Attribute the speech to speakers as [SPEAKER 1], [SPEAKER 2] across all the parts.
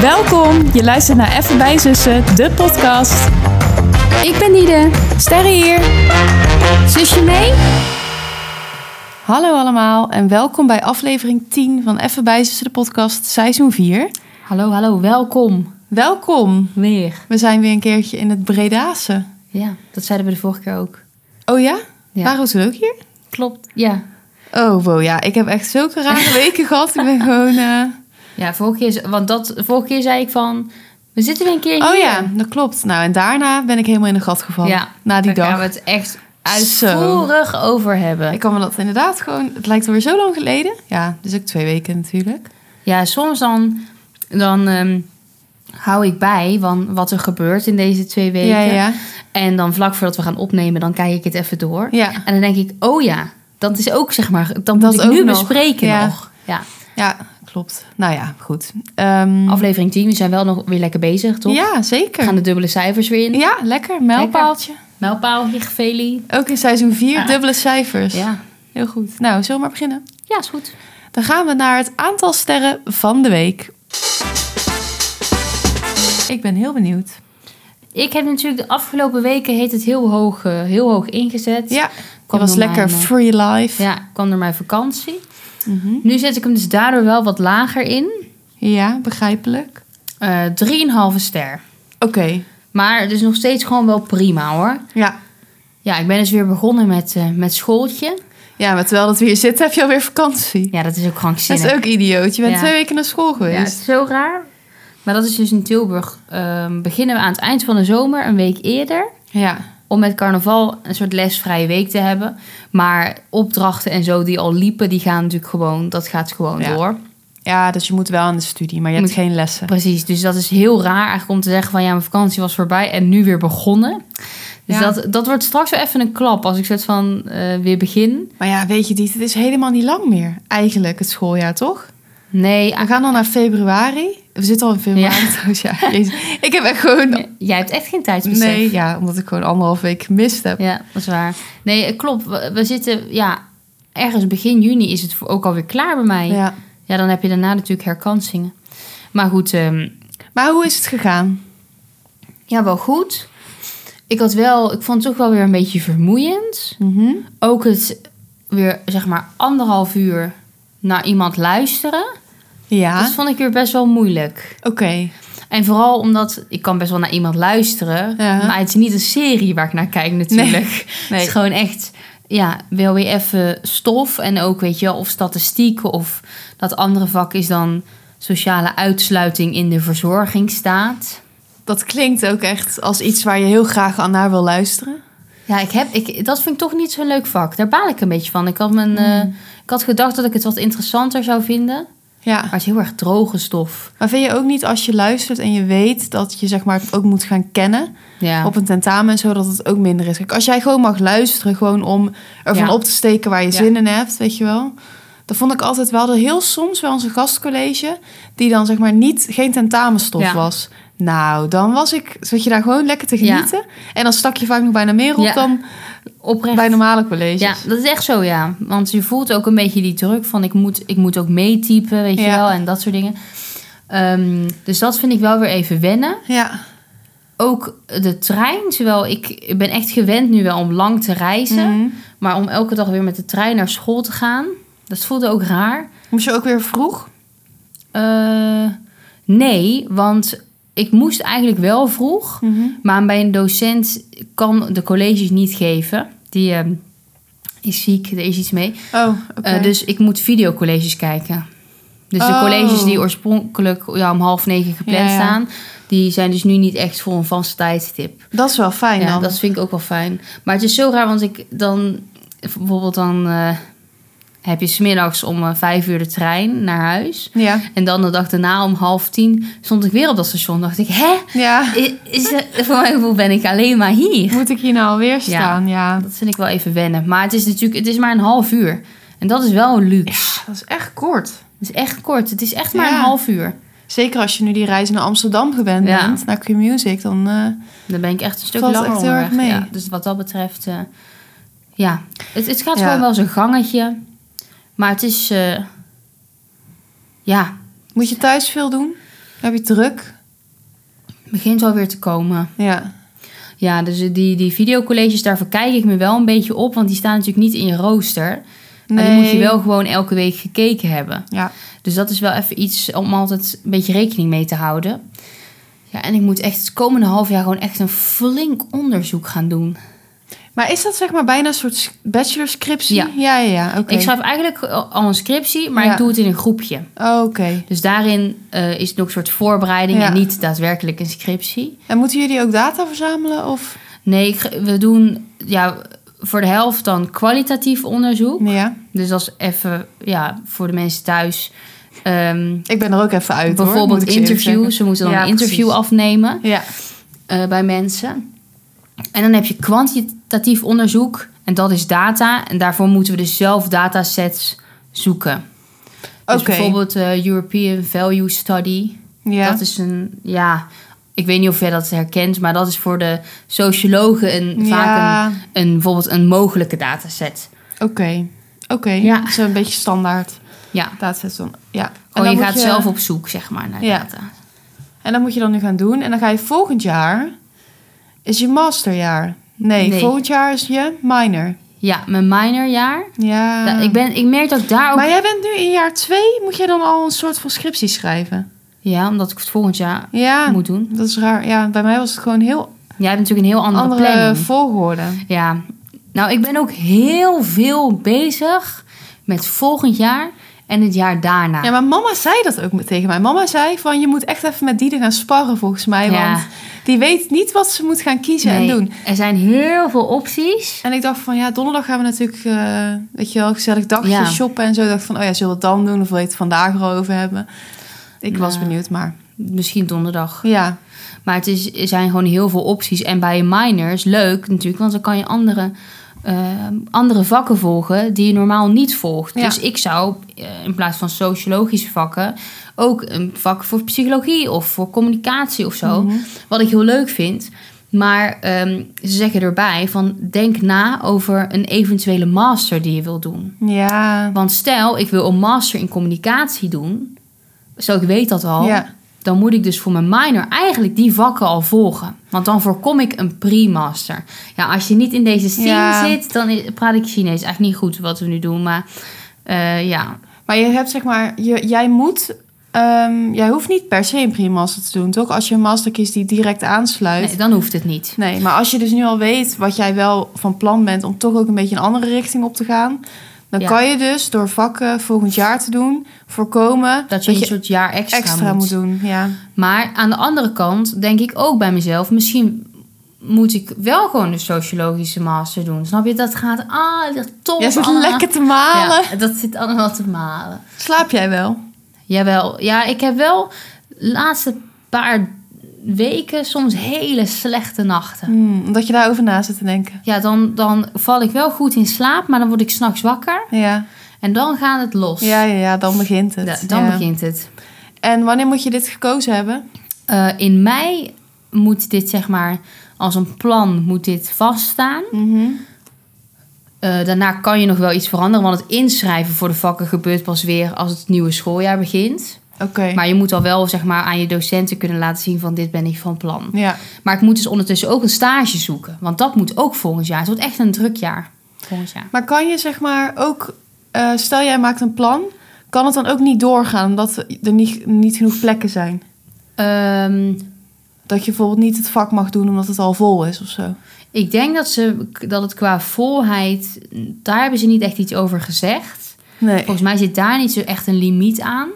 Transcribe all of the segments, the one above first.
[SPEAKER 1] Welkom, je luistert naar Even bij Zussen, de podcast.
[SPEAKER 2] Ik ben Nide.
[SPEAKER 1] Sterre hier.
[SPEAKER 2] Zusje mee?
[SPEAKER 1] Hallo allemaal en welkom bij aflevering 10 van Even bij Zussen, de podcast, seizoen 4.
[SPEAKER 2] Hallo, hallo, welkom.
[SPEAKER 1] Welkom,
[SPEAKER 2] Weer.
[SPEAKER 1] we zijn weer een keertje in het Bredase.
[SPEAKER 2] Ja, dat zeiden we de vorige keer ook.
[SPEAKER 1] Oh ja?
[SPEAKER 2] Ja.
[SPEAKER 1] Waren we toen ook hier?
[SPEAKER 2] Klopt. Ja.
[SPEAKER 1] Oh wow, ja, ik heb echt zulke rare weken gehad. Ik ben gewoon... eh,
[SPEAKER 2] Ja, vorige keer, want dat, vorige keer zei ik van, we zitten weer een keer
[SPEAKER 1] Oh
[SPEAKER 2] hier.
[SPEAKER 1] ja, dat klopt. Nou, en daarna ben ik helemaal in een gat gevallen.
[SPEAKER 2] Ja,
[SPEAKER 1] na die
[SPEAKER 2] Daar gaan
[SPEAKER 1] dag.
[SPEAKER 2] we het echt uitvoerig over hebben.
[SPEAKER 1] Ik kan me dat inderdaad gewoon... Het lijkt alweer zo lang geleden. Ja, dus ook twee weken natuurlijk.
[SPEAKER 2] Ja, soms dan, dan ehm, hou ik bij van wat er gebeurt in deze twee weken.
[SPEAKER 1] Ja, ja.
[SPEAKER 2] En dan vlak voordat we gaan opnemen, dan kijk ik het even door.
[SPEAKER 1] Ja.
[SPEAKER 2] En dan denk ik, oh ja, dat is ook zeg maar, dan
[SPEAKER 1] Dat
[SPEAKER 2] moet ik
[SPEAKER 1] ook
[SPEAKER 2] nu
[SPEAKER 1] nog.
[SPEAKER 2] bespreken
[SPEAKER 1] Ja.
[SPEAKER 2] nog. Ja.
[SPEAKER 1] Ja, klopt. Nou ja, goed. Ehm,
[SPEAKER 2] Aflevering 10, we zijn wel nog weer lekker bezig, toch?
[SPEAKER 1] ja,
[SPEAKER 2] We gaan
[SPEAKER 1] zeker.
[SPEAKER 2] de dubbele cijfers weer in.
[SPEAKER 1] Ja, lekker. Mijlpaaltje.
[SPEAKER 2] Mijlpaal, Higveli.
[SPEAKER 1] Ook in seizoen 4,
[SPEAKER 2] Ja.
[SPEAKER 1] dubbele cijfers.
[SPEAKER 2] Ja.
[SPEAKER 1] Heel goed. Nou, zullen we maar beginnen?
[SPEAKER 2] ja, is goed.
[SPEAKER 1] Dan gaan we naar het aantal sterren van de week. Ik ben heel benieuwd.
[SPEAKER 2] Ik heb natuurlijk de afgelopen weken heet het heel hoog, eh, heel hoog ingezet.
[SPEAKER 1] Ja, het
[SPEAKER 2] Kwam
[SPEAKER 1] was
[SPEAKER 2] door
[SPEAKER 1] lekker
[SPEAKER 2] mijn, eh,
[SPEAKER 1] free life.
[SPEAKER 2] ja, kwam door mijn vakantie.
[SPEAKER 1] Mhm.
[SPEAKER 2] Nu zet ik hem dus daardoor wel wat lager in.
[SPEAKER 1] ja begrijpelijk.
[SPEAKER 2] Eh, 3,5 ster.
[SPEAKER 1] Oké,
[SPEAKER 2] Maar het is nog steeds gewoon wel prima hoor.
[SPEAKER 1] ja.
[SPEAKER 2] Ja, ik ben dus weer begonnen met, eh, met schooltje.
[SPEAKER 1] Ja, maar terwijl dat we hier zitten, heb je alweer vakantie.
[SPEAKER 2] Ja, dat is ook
[SPEAKER 1] Dat
[SPEAKER 2] krankzinnig.
[SPEAKER 1] is ook idioot. Je bent
[SPEAKER 2] Ja.
[SPEAKER 1] twee weken naar school
[SPEAKER 2] Ja, het
[SPEAKER 1] geweest.
[SPEAKER 2] is zo raar. Maar dat is dus in Tilburg. Ehm, beginnen we aan het eind van de zomer, een week eerder.
[SPEAKER 1] Ja.
[SPEAKER 2] om met carnaval een soort lesvrije week te hebben. Maar opdrachten en zo die al liepen, die gaan natuurlijk gewoon, dat gaat gewoon
[SPEAKER 1] Ja.
[SPEAKER 2] door.
[SPEAKER 1] ja, dus je moet wel aan de studie, maar je hebt
[SPEAKER 2] Moet-
[SPEAKER 1] geen lessen.
[SPEAKER 2] Precies, dus dat is heel raar eigenlijk om te zeggen van ja, mijn vakantie was voorbij en nu weer begonnen. Dus
[SPEAKER 1] Ja.
[SPEAKER 2] dat, dat wordt straks wel even een klap als ik soort van eh, weer begin.
[SPEAKER 1] Maar ja, weet je Diet, het is helemaal niet lang meer eigenlijk, het schooljaar, toch?
[SPEAKER 2] Nee,
[SPEAKER 1] We gaan dan naar februari. We zitten al in februari
[SPEAKER 2] Ja.
[SPEAKER 1] trouwens, ja. Jezus. Ik heb echt gewoon...
[SPEAKER 2] jij hebt echt geen tijdsbesef.
[SPEAKER 1] Nee, ja, omdat ik gewoon anderhalf week gemist heb.
[SPEAKER 2] Ja, dat is waar. Nee, eh, klopt. We, we zitten, ja, ergens begin juni is het voor- ook alweer klaar bij mij. Ja,
[SPEAKER 1] Ja.
[SPEAKER 2] dan heb je daarna natuurlijk herkansingen. Maar goed, ehm,
[SPEAKER 1] Maar hoe is het gegaan?
[SPEAKER 2] Ja, wel goed. Ik had wel, ik vond het ook wel weer een beetje vermoeiend.
[SPEAKER 1] Mhm.
[SPEAKER 2] Ook het weer, zeg maar, anderhalf uur naar iemand luisteren.
[SPEAKER 1] Ja,
[SPEAKER 2] Dat vond ik weer best wel moeilijk.
[SPEAKER 1] oké.
[SPEAKER 2] En vooral omdat, ik kan best wel naar iemand luisteren.
[SPEAKER 1] Ja.
[SPEAKER 2] Maar het is niet een serie waar ik naar kijk natuurlijk. Het
[SPEAKER 1] Nee.
[SPEAKER 2] is gewoon echt, ja, wel weer even stof. En ook, weet je wel, of statistieken. Of dat andere vak is dan sociale uitsluiting in de verzorging staat.
[SPEAKER 1] Dat klinkt ook echt als iets waar je heel graag aan naar wil luisteren.
[SPEAKER 2] Ja, ik heb, ik, dat vind ik toch niet zo'n leuk vak. Daar baal ik een beetje van. Ik had, mijn, eh, ik had gedacht dat ik het wat interessanter zou vinden.
[SPEAKER 1] Ja.
[SPEAKER 2] Maar het is heel erg droge stof.
[SPEAKER 1] Maar vind je ook niet als je luistert en je weet dat je zeg maar, het ook moet gaan kennen
[SPEAKER 2] Ja.
[SPEAKER 1] op een tentamen en zo, dat het ook minder is? Kijk, als jij gewoon mag luisteren, gewoon om ervan
[SPEAKER 2] Ja.
[SPEAKER 1] op te steken waar je
[SPEAKER 2] Ja.
[SPEAKER 1] zin in hebt, weet je wel. Dat vond ik altijd wel. Heel soms wel eens een gastcollege die dan zeg maar niet, geen tentamenstof
[SPEAKER 2] Ja.
[SPEAKER 1] was. Nou, dan was ik, zat je daar gewoon lekker te
[SPEAKER 2] Ja.
[SPEAKER 1] genieten. En dan stak je vaak nog bijna meer op
[SPEAKER 2] Ja,
[SPEAKER 1] dan
[SPEAKER 2] Oprecht.
[SPEAKER 1] bij normale colleges.
[SPEAKER 2] ja, dat is echt zo, ja. Want je voelt ook een beetje die druk van ik moet, ik moet ook meetypen, weet je
[SPEAKER 1] Ja.
[SPEAKER 2] wel. En dat soort dingen. Ehm, dus dat vind ik wel weer even wennen.
[SPEAKER 1] ja.
[SPEAKER 2] Ook de trein, terwijl ik, ik ben echt gewend nu wel om lang te reizen.
[SPEAKER 1] Mhm.
[SPEAKER 2] Maar om elke dag weer met de trein naar school te gaan, dat voelde ook raar.
[SPEAKER 1] Moest je ook weer vroeg?
[SPEAKER 2] Eh, nee, want ik moest eigenlijk wel vroeg. Maar bij een docent kan de colleges niet geven. Die ehm, is ziek, er is iets mee.
[SPEAKER 1] Oh, oké.
[SPEAKER 2] Eh, dus ik moet videocolleges kijken. Dus de
[SPEAKER 1] Oh.
[SPEAKER 2] colleges die oorspronkelijk ja, om half negen gepland
[SPEAKER 1] Ja, ja.
[SPEAKER 2] staan... die zijn dus nu niet echt voor een vaste tijdstip.
[SPEAKER 1] dat is wel fijn
[SPEAKER 2] Ja,
[SPEAKER 1] dan.
[SPEAKER 2] dat vind ik ook wel fijn. Maar het is zo raar, want ik dan... Bijvoorbeeld dan eh, heb je smiddags om eh, vijf uur de trein naar huis...
[SPEAKER 1] Ja.
[SPEAKER 2] En dan de dag daarna om half tien stond ik weer op dat station. Dacht ik, hè?
[SPEAKER 1] Ja.
[SPEAKER 2] Is, is, voor mijn gevoel ben ik alleen maar hier.
[SPEAKER 1] Moet ik hier nou alweer staan? Ja.
[SPEAKER 2] Dat vind ik wel even wennen. Maar het is natuurlijk, het is maar een half uur. En dat is wel een luxe.
[SPEAKER 1] Dat is echt kort.
[SPEAKER 2] Het is echt kort. Het is echt maar
[SPEAKER 1] Ja.
[SPEAKER 2] een half uur.
[SPEAKER 1] Zeker als je nu die reis naar Amsterdam gewend
[SPEAKER 2] Ja.
[SPEAKER 1] bent, naar Q-Music, dan... eh,
[SPEAKER 2] Dan ben ik echt een stuk
[SPEAKER 1] Valt
[SPEAKER 2] langer
[SPEAKER 1] echt heel erg
[SPEAKER 2] onderweg.
[SPEAKER 1] mee.
[SPEAKER 2] Ja, dus wat dat betreft, eh, ja. Het, het gaat
[SPEAKER 1] Ja.
[SPEAKER 2] gewoon wel zijn gangetje. Maar het is, eh, ja,
[SPEAKER 1] moet je thuis veel doen? heb je druk.
[SPEAKER 2] begint wel weer te komen.
[SPEAKER 1] Ja.
[SPEAKER 2] Ja, dus die, die videocolleges, daarvoor kijk ik me wel een beetje op. Want die staan natuurlijk niet in je rooster. Maar die moet je
[SPEAKER 1] Nee.
[SPEAKER 2] wel gewoon elke week gekeken hebben.
[SPEAKER 1] Ja.
[SPEAKER 2] Dus dat is wel even iets om altijd een beetje rekening mee te houden. Ja, en ik moet echt het komende half jaar gewoon echt een flink onderzoek gaan doen.
[SPEAKER 1] Maar is dat zeg maar bijna een soort s- bachelorscriptie?
[SPEAKER 2] Ja.
[SPEAKER 1] Ja, ja, ja, Oké.
[SPEAKER 2] Ik schrijf eigenlijk al een scriptie, maar
[SPEAKER 1] Ja.
[SPEAKER 2] ik doe het in een groepje.
[SPEAKER 1] Oh, Oké.
[SPEAKER 2] Dus daarin eh, is het nog een soort voorbereiding
[SPEAKER 1] Ja.
[SPEAKER 2] en niet daadwerkelijk een scriptie.
[SPEAKER 1] En moeten jullie ook data verzamelen? Of?
[SPEAKER 2] Nee, ik ge- we doen ja, voor de helft dan kwalitatief onderzoek.
[SPEAKER 1] Ja.
[SPEAKER 2] Dus dat is even ja, voor de mensen thuis. Ehm,
[SPEAKER 1] Ik ben er ook even uit. hoor,
[SPEAKER 2] bijvoorbeeld
[SPEAKER 1] moet ik je eerlijk
[SPEAKER 2] interviews.
[SPEAKER 1] zeggen.
[SPEAKER 2] Ze moeten dan
[SPEAKER 1] Ja,
[SPEAKER 2] een interview
[SPEAKER 1] precies.
[SPEAKER 2] afnemen.
[SPEAKER 1] Ja.
[SPEAKER 2] eh, bij mensen. En dan heb je kwantitatief onderzoek en dat is data. En daarvoor moeten we dus zelf datasets zoeken. Dus
[SPEAKER 1] Oké.
[SPEAKER 2] bijvoorbeeld eh, European Value Study.
[SPEAKER 1] Ja.
[SPEAKER 2] Dat is een, ja, ik weet niet of jij dat herkent, maar dat is voor de sociologen een, vaak
[SPEAKER 1] Ja.
[SPEAKER 2] een, een, bijvoorbeeld een mogelijke dataset.
[SPEAKER 1] Oké. Oké.
[SPEAKER 2] Ja.
[SPEAKER 1] Dat is een beetje standaard.
[SPEAKER 2] Ja,
[SPEAKER 1] Dataset dan. Ja. En
[SPEAKER 2] gewoon
[SPEAKER 1] dan
[SPEAKER 2] je
[SPEAKER 1] moet
[SPEAKER 2] gaat zelf op zoek, zeg maar, naar
[SPEAKER 1] Ja.
[SPEAKER 2] data.
[SPEAKER 1] En dat moet je dan nu gaan doen. En dan ga je volgend jaar... Is je masterjaar? Nee,
[SPEAKER 2] Nee.
[SPEAKER 1] volgend jaar is je minor.
[SPEAKER 2] Ja, mijn minorjaar.
[SPEAKER 1] Ja.
[SPEAKER 2] Da- Ik, ben, ik merk dat ik daar
[SPEAKER 1] Eh.
[SPEAKER 2] ook...
[SPEAKER 1] Maar jij bent nu in jaar twee. Moet jij dan al een soort van scriptie schrijven?
[SPEAKER 2] Ja, omdat ik het volgend jaar
[SPEAKER 1] Ja.
[SPEAKER 2] moet doen.
[SPEAKER 1] Dat is raar. Ja, bij mij was het gewoon heel
[SPEAKER 2] Jij hebt natuurlijk een heel andere,
[SPEAKER 1] andere
[SPEAKER 2] planning.
[SPEAKER 1] volgorde.
[SPEAKER 2] Ja, nou, ik ben ook heel veel bezig met volgend jaar en het jaar daarna.
[SPEAKER 1] Ja, maar mama zei dat ook tegen mij. Mama zei van, je moet echt even met Diede gaan sparren volgens mij.
[SPEAKER 2] Ja.
[SPEAKER 1] Want die weet niet wat ze moet gaan kiezen
[SPEAKER 2] Nee,
[SPEAKER 1] en doen.
[SPEAKER 2] Er zijn heel veel opties.
[SPEAKER 1] En ik dacht van, ja, donderdag gaan we natuurlijk, eh, weet je wel, gezellig dagje
[SPEAKER 2] Ja.
[SPEAKER 1] shoppen en zo. Ik dacht van, oh ja, zullen we het dan doen of wil je het vandaag erover hebben? Ik was
[SPEAKER 2] Nou.
[SPEAKER 1] benieuwd, maar
[SPEAKER 2] Misschien donderdag.
[SPEAKER 1] ja.
[SPEAKER 2] Maar het is, er zijn gewoon heel veel opties. En bij een minor is leuk natuurlijk, want dan kan je andere, eh, andere vakken volgen die je normaal niet volgt.
[SPEAKER 1] Ja.
[SPEAKER 2] Dus ik zou eh, in plaats van sociologische vakken ook een vak voor psychologie of voor communicatie of zo.
[SPEAKER 1] Mhm.
[SPEAKER 2] Wat ik heel leuk vind. Maar ehm, ze zeggen erbij van denk na over een eventuele master die je wil doen.
[SPEAKER 1] Ja.
[SPEAKER 2] Want stel, ik wil een master in communicatie doen. Zo, ik weet dat al.
[SPEAKER 1] Ja.
[SPEAKER 2] Dan moet ik dus voor mijn minor eigenlijk die vakken al volgen. Want dan voorkom ik een pre-master. Ja, als je niet in deze scene
[SPEAKER 1] Ja.
[SPEAKER 2] zit, dan i- praat ik Chinees. Eigenlijk niet goed wat we nu doen, maar eh, ja.
[SPEAKER 1] Maar je hebt zeg maar, je, jij moet, ehm, jij hoeft niet per se een pre-master te doen, toch? Als je een master kiest die direct aansluit.
[SPEAKER 2] Nee, dan hoeft het niet.
[SPEAKER 1] Nee, maar als je dus nu al weet wat jij wel van plan bent om toch ook een beetje een andere richting op te gaan, dan
[SPEAKER 2] Ja.
[SPEAKER 1] kan je dus door vakken volgend jaar te doen voorkomen
[SPEAKER 2] Dat je een soort jaar extra, Oh,
[SPEAKER 1] extra, moet. doen. Ja.
[SPEAKER 2] Maar aan de andere kant denk ik ook bij mezelf, misschien moet ik wel gewoon een sociologische master doen. Snap je? Dat gaat, ah, dat top.
[SPEAKER 1] Jij zit
[SPEAKER 2] Anna.
[SPEAKER 1] lekker te malen.
[SPEAKER 2] Ja, dat zit allemaal te malen.
[SPEAKER 1] Slaap jij wel?
[SPEAKER 2] Jawel, ja, ik heb wel de laatste paar weken soms hele slechte nachten.
[SPEAKER 1] Hmm, omdat je daarover na zit te denken.
[SPEAKER 2] Ja, dan, dan val ik wel goed in slaap, maar dan word ik s'nachts wakker
[SPEAKER 1] Ja.
[SPEAKER 2] en dan gaat het los.
[SPEAKER 1] Ja, ja, ja, dan begint het.
[SPEAKER 2] Da- dan
[SPEAKER 1] Ja.
[SPEAKER 2] begint het.
[SPEAKER 1] En wanneer moet je dit gekozen hebben?
[SPEAKER 2] Eh, in mei moet dit zeg maar als een plan moet dit vaststaan.
[SPEAKER 1] Mhm.
[SPEAKER 2] Eh, daarna kan je nog wel iets veranderen, want het inschrijven voor de vakken gebeurt pas weer als het nieuwe schooljaar begint.
[SPEAKER 1] Oké.
[SPEAKER 2] Maar je moet al wel zeg maar aan je docenten kunnen laten zien van dit ben ik van plan.
[SPEAKER 1] Ja.
[SPEAKER 2] Maar ik moet dus ondertussen ook een stage zoeken. Want dat moet ook volgend jaar. Het wordt echt een druk jaar. Volgend jaar.
[SPEAKER 1] Maar kan je zeg maar ook, eh, stel jij maakt een plan, kan het dan ook niet doorgaan omdat er niet, niet genoeg plekken zijn?
[SPEAKER 2] Ehm,
[SPEAKER 1] Dat je bijvoorbeeld niet het vak mag doen omdat het al vol is of zo.
[SPEAKER 2] ik denk dat, ze, dat het qua volheid... Daar hebben ze niet echt iets over gezegd.
[SPEAKER 1] Nee.
[SPEAKER 2] Volgens mij zit daar niet zo echt een limiet aan.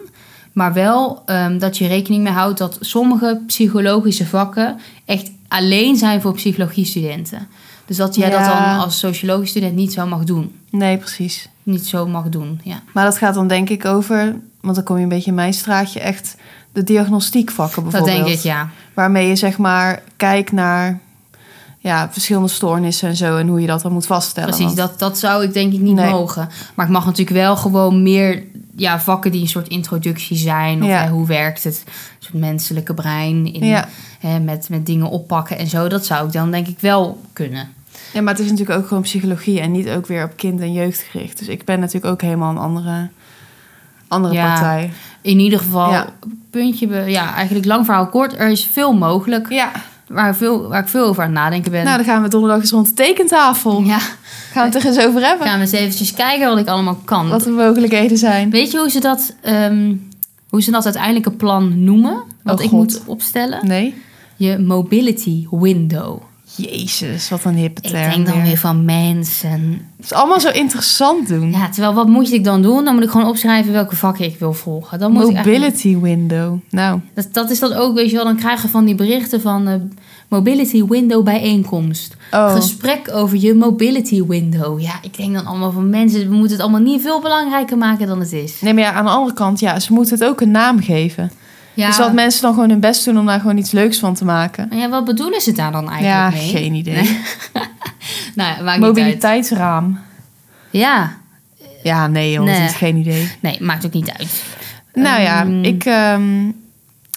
[SPEAKER 2] Maar wel ehm, dat je rekening mee houdt dat sommige psychologische vakken... echt alleen zijn voor psychologie-studenten. Dus dat jij dat
[SPEAKER 1] Ja.
[SPEAKER 2] dan als sociologisch student niet zo mag doen.
[SPEAKER 1] Nee, precies.
[SPEAKER 2] Niet zo mag doen, ja.
[SPEAKER 1] Maar dat gaat dan denk ik over, want dan kom je een beetje in mijn straatje, echt de diagnostiekvakken
[SPEAKER 2] Dat
[SPEAKER 1] bijvoorbeeld.
[SPEAKER 2] denk ik, ja.
[SPEAKER 1] Waarmee je zeg maar kijkt naar ja, verschillende stoornissen en zo en hoe je dat dan moet vaststellen.
[SPEAKER 2] Precies,
[SPEAKER 1] Want-
[SPEAKER 2] dat, dat zou ik denk ik niet
[SPEAKER 1] Nee.
[SPEAKER 2] mogen. Maar ik mag natuurlijk wel gewoon meer ja, vakken die een soort introductie zijn. Of
[SPEAKER 1] Ja.
[SPEAKER 2] hè, hoe werkt het een soort menselijke brein in,
[SPEAKER 1] Ja.
[SPEAKER 2] hè, met, met dingen oppakken en zo. Dat zou ik dan denk ik wel kunnen.
[SPEAKER 1] ja, maar het is natuurlijk ook gewoon psychologie en niet ook weer op kind en jeugd gericht. Dus ik ben natuurlijk ook helemaal een andere andere
[SPEAKER 2] Ja.
[SPEAKER 1] partij.
[SPEAKER 2] In ieder geval,
[SPEAKER 1] Ja.
[SPEAKER 2] puntje, be- ja, eigenlijk lang verhaal kort. Er is veel mogelijk
[SPEAKER 1] Ja,
[SPEAKER 2] waar, veel, waar ik veel over aan het nadenken ben.
[SPEAKER 1] nou dan gaan we donderdag eens rond de tekentafel.
[SPEAKER 2] ja,
[SPEAKER 1] Gaan we het er eens over hebben.
[SPEAKER 2] gaan we eens eventjes kijken wat ik allemaal kan.
[SPEAKER 1] Wat de mogelijkheden zijn.
[SPEAKER 2] Weet je hoe ze dat, ehm, hoe ze dat uiteindelijke plan noemen? Wat
[SPEAKER 1] Oh,
[SPEAKER 2] ik
[SPEAKER 1] God.
[SPEAKER 2] moet opstellen?
[SPEAKER 1] Nee?
[SPEAKER 2] Je mobility window.
[SPEAKER 1] Jezus, wat een hippe
[SPEAKER 2] Ik
[SPEAKER 1] term.
[SPEAKER 2] denk dan weer van mensen.
[SPEAKER 1] Het is allemaal zo interessant doen.
[SPEAKER 2] Ja, terwijl wat moet ik dan doen? Dan moet ik gewoon opschrijven welke vakken ik wil volgen. Dan moet ik eigenlijk-
[SPEAKER 1] Mobility window. Nou,
[SPEAKER 2] dat, dat is dan ook, weet je wel, dan krijgen we van die berichten van eh, mobility window bijeenkomst.
[SPEAKER 1] oh.
[SPEAKER 2] Gesprek over je mobility window. Ja, ik denk dan allemaal van mensen, we moeten het allemaal niet veel belangrijker maken dan het is.
[SPEAKER 1] Nee, maar ja, aan de andere kant, ja, ze moeten het ook een naam geven.
[SPEAKER 2] Ja,
[SPEAKER 1] Dus dat mensen dan gewoon hun best doen om daar gewoon iets leuks van te maken.
[SPEAKER 2] ja, wat bedoelen ze daar dan eigenlijk
[SPEAKER 1] Ja,
[SPEAKER 2] mee?
[SPEAKER 1] geen idee.
[SPEAKER 2] Nee. nou, ja, maakt niet uit.
[SPEAKER 1] Mobiliteitsraam.
[SPEAKER 2] Ja,
[SPEAKER 1] Ja, nee joh,
[SPEAKER 2] Nee.
[SPEAKER 1] dat is geen idee.
[SPEAKER 2] nee, maakt ook niet uit.
[SPEAKER 1] Nou ja,
[SPEAKER 2] Ehm.
[SPEAKER 1] ik, ehm,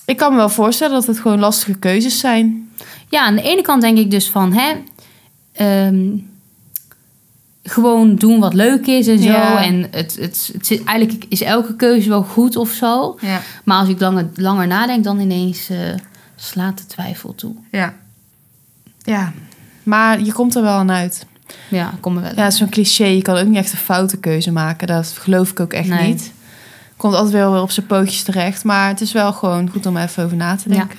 [SPEAKER 1] ik kan me wel voorstellen dat het gewoon lastige keuzes zijn.
[SPEAKER 2] Ja, aan de ene kant denk ik dus van, hè, ehm, gewoon doen wat leuk is en zo.
[SPEAKER 1] Ja.
[SPEAKER 2] En het, het, het zit, eigenlijk is elke keuze wel goed of zo.
[SPEAKER 1] Ja.
[SPEAKER 2] Maar als ik langer, langer nadenk, dan ineens eh, slaat de twijfel toe.
[SPEAKER 1] Ja. Ja. Maar je komt er wel aan uit.
[SPEAKER 2] Ja, kom er wel.
[SPEAKER 1] Ja, zo'n cliché. Je kan ook niet echt een foute keuze maken. Dat geloof ik ook echt
[SPEAKER 2] Nee.
[SPEAKER 1] niet. Komt altijd wel weer op zijn pootjes terecht. Maar het is wel gewoon goed om even over na te
[SPEAKER 2] Ja.
[SPEAKER 1] denken.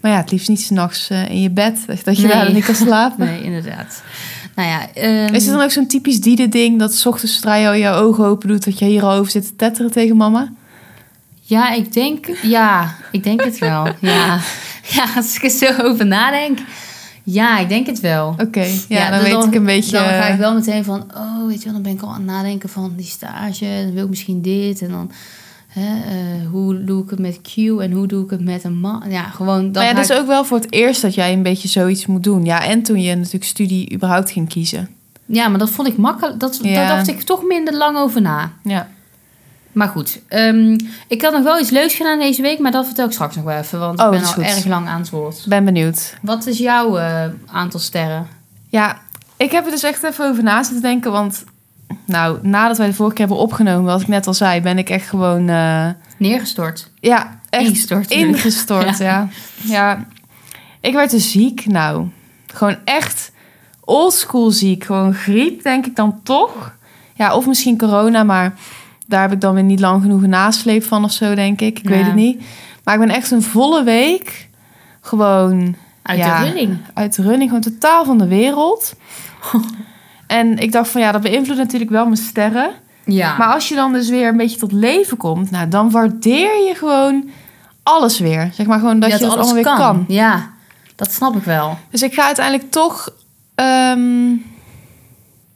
[SPEAKER 1] Maar ja, het liefst niet s'nachts eh in je bed. Dat je
[SPEAKER 2] Nee.
[SPEAKER 1] daar dan niet kan slapen.
[SPEAKER 2] Nee, inderdaad. Nou ja, ehm,
[SPEAKER 1] Is het dan ook zo'n typisch Diede-ding... dat 's ochtends zodra je je ogen open doet... dat je hierover zit te tetteren tegen mama?
[SPEAKER 2] ja, ik denk, ja, ik denk het wel. Ja. ja, als ik er zo over nadenk. Ja, ik denk het wel.
[SPEAKER 1] Oké, ja, dan, weet ik een beetje... eh,
[SPEAKER 2] Dan ga ik wel meteen van, oh, weet je wel, dan ben ik al aan het nadenken van die stage. Dan wil ik misschien dit. En dan, hè, eh, hoe doe ik het met Q en hoe doe ik het met een man? Ja, gewoon. Dan
[SPEAKER 1] maar ja,
[SPEAKER 2] ga
[SPEAKER 1] dat
[SPEAKER 2] ik-
[SPEAKER 1] is ook wel voor het eerst dat jij een beetje zoiets moet doen. Ja, en toen je natuurlijk studie überhaupt ging kiezen.
[SPEAKER 2] ja, maar dat vond ik makkelijk. Dat,
[SPEAKER 1] Ja.
[SPEAKER 2] Daar dacht ik toch minder lang over na.
[SPEAKER 1] Ja.
[SPEAKER 2] Maar goed, ehm, ik had nog wel iets leuks gedaan deze week, maar dat vertel ik straks nog wel even. Want
[SPEAKER 1] Oh,
[SPEAKER 2] ik ben
[SPEAKER 1] dat
[SPEAKER 2] al
[SPEAKER 1] is goed.
[SPEAKER 2] erg lang aan het woord.
[SPEAKER 1] Ben benieuwd.
[SPEAKER 2] Wat is jouw eh, aantal sterren?
[SPEAKER 1] Ja, ik heb er dus echt even over na zitten denken, want... Nou, nadat wij de vorige keer hebben opgenomen, wat ik net al zei, ben ik echt gewoon... eh,
[SPEAKER 2] Neergestort.
[SPEAKER 1] ja, echt
[SPEAKER 2] Ingestort.
[SPEAKER 1] ingestort, ja. ja. Ik werd dus ziek, nou. Gewoon echt oldschool ziek. Gewoon griep, denk ik dan toch. Ja, of misschien corona, maar daar heb ik dan weer niet lang genoeg een nasleep van of zo, denk ik. Ik
[SPEAKER 2] Ja.
[SPEAKER 1] weet het niet. Maar ik ben echt een volle week gewoon
[SPEAKER 2] Uit
[SPEAKER 1] Ja.
[SPEAKER 2] de running.
[SPEAKER 1] uit de running, gewoon totaal van de wereld. En ik dacht van ja, dat beïnvloedt natuurlijk wel mijn sterren.
[SPEAKER 2] Ja.
[SPEAKER 1] Maar als je dan dus weer een beetje tot leven komt, nou, dan waardeer je gewoon alles weer. Zeg maar gewoon dat, je het allemaal weer kan.
[SPEAKER 2] Ja, dat snap ik wel.
[SPEAKER 1] Dus ik ga uiteindelijk toch. ehm,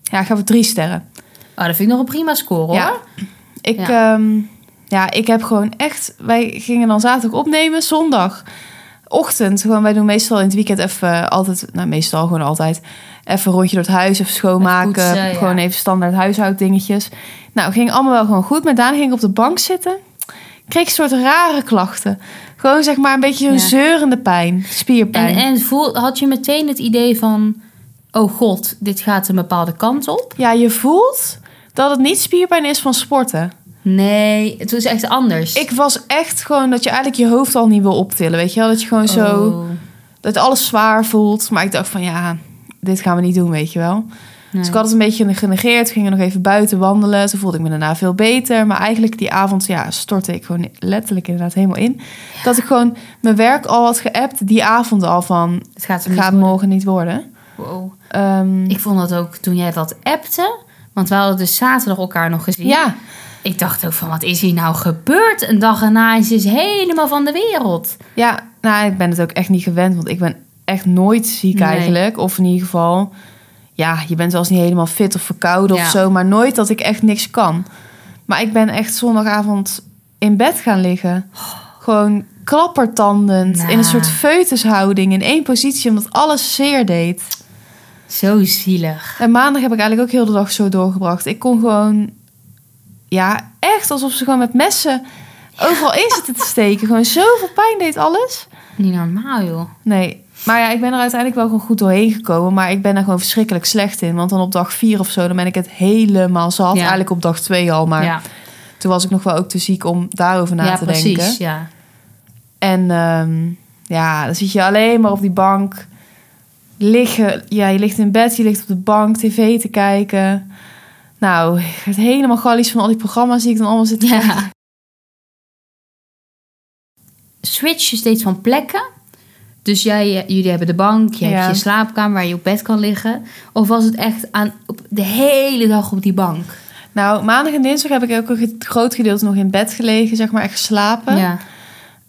[SPEAKER 1] ja, ik ga voor drie sterren.
[SPEAKER 2] Oh, dat vind ik nog een prima score hoor.
[SPEAKER 1] Ja. Ik, ehm, ja, ik heb gewoon echt. Wij gingen dan zaterdag opnemen, zondag. Ochtend, gewoon, wij doen meestal in het weekend even eh, altijd, nou meestal gewoon altijd, even een rondje door het huis, even schoonmaken,
[SPEAKER 2] Even poetsen, ja.
[SPEAKER 1] gewoon even standaard huishouddingetjes. Nou, ging allemaal wel gewoon goed, maar daarna ging ik op de bank zitten, kreeg een soort rare klachten. Gewoon zeg maar een beetje zo'n
[SPEAKER 2] Ja.
[SPEAKER 1] zeurende pijn, spierpijn.
[SPEAKER 2] En, en voel, had je meteen het idee van, oh god, dit gaat een bepaalde kant op?
[SPEAKER 1] Ja, je voelt dat het niet spierpijn is van sporten.
[SPEAKER 2] Nee, het was echt anders.
[SPEAKER 1] Ik was echt gewoon dat je eigenlijk je hoofd al niet wil optillen. Weet je wel, dat je gewoon zo...
[SPEAKER 2] Oh,
[SPEAKER 1] Dat alles zwaar voelt. Maar ik dacht van ja, dit gaan we niet doen, weet je wel. Dus
[SPEAKER 2] nee.
[SPEAKER 1] ik had het een beetje genegeerd. Gingen nog even buiten wandelen. Toen voelde ik me daarna veel beter. Maar eigenlijk die avond ja, stortte ik gewoon letterlijk inderdaad helemaal in. Dat ik gewoon mijn werk al had geappt. Die avond al van,
[SPEAKER 2] Het gaat,
[SPEAKER 1] het gaat
[SPEAKER 2] mooi.
[SPEAKER 1] morgen niet worden.
[SPEAKER 2] Wow.
[SPEAKER 1] Ehm,
[SPEAKER 2] Ik vond dat ook toen jij dat appte. Want we hadden dus zaterdag elkaar nog gezien.
[SPEAKER 1] ja,
[SPEAKER 2] Ik dacht ook van, wat is hier nou gebeurd? Een dag erna is ze helemaal van de wereld.
[SPEAKER 1] Ja, nou, ik ben het ook echt niet gewend, want ik ben echt nooit ziek
[SPEAKER 2] Nee.
[SPEAKER 1] eigenlijk. Of in ieder geval, ja, je bent zelfs niet helemaal fit of verkouden
[SPEAKER 2] Ja.
[SPEAKER 1] of zo, maar nooit dat ik echt niks kan. Maar ik ben echt zondagavond in bed gaan liggen. Gewoon klappertandend,
[SPEAKER 2] Nou.
[SPEAKER 1] in een soort feutushouding, in één positie, omdat alles zeer deed.
[SPEAKER 2] Zo zielig.
[SPEAKER 1] En maandag heb ik eigenlijk ook heel de dag zo doorgebracht. Ik kon gewoon, ja, echt alsof ze gewoon met messen overal in zitten te steken. Gewoon zoveel pijn deed alles.
[SPEAKER 2] Niet normaal, joh.
[SPEAKER 1] Nee. Maar ja, ik ben er uiteindelijk wel gewoon goed doorheen gekomen. Maar ik ben er gewoon verschrikkelijk slecht in. Want dan op dag vier of zo, dan ben ik het helemaal zat.
[SPEAKER 2] Ja.
[SPEAKER 1] Eigenlijk op dag twee al. Maar
[SPEAKER 2] ja.
[SPEAKER 1] Toen was ik nog wel ook te ziek om daarover na
[SPEAKER 2] ja,
[SPEAKER 1] te
[SPEAKER 2] precies.
[SPEAKER 1] denken.
[SPEAKER 2] Ja.
[SPEAKER 1] En ehm, ja, dan zit je alleen maar op die bank liggen. Ja, je ligt in bed, je ligt op de bank tv te kijken. Nou, ik werd helemaal gallies van al die programma's die ik dan allemaal zit te kijken.
[SPEAKER 2] ja. Switch je steeds van plekken. Dus jij, eh, jullie hebben de bank, je
[SPEAKER 1] Ja.
[SPEAKER 2] hebt je slaapkamer waar je op bed kan liggen. Of was het echt aan, op de hele dag op die bank?
[SPEAKER 1] Nou, maandag en dinsdag heb ik ook een ge- groot gedeelte nog in bed gelegen, zeg maar, echt geslapen.
[SPEAKER 2] Ja.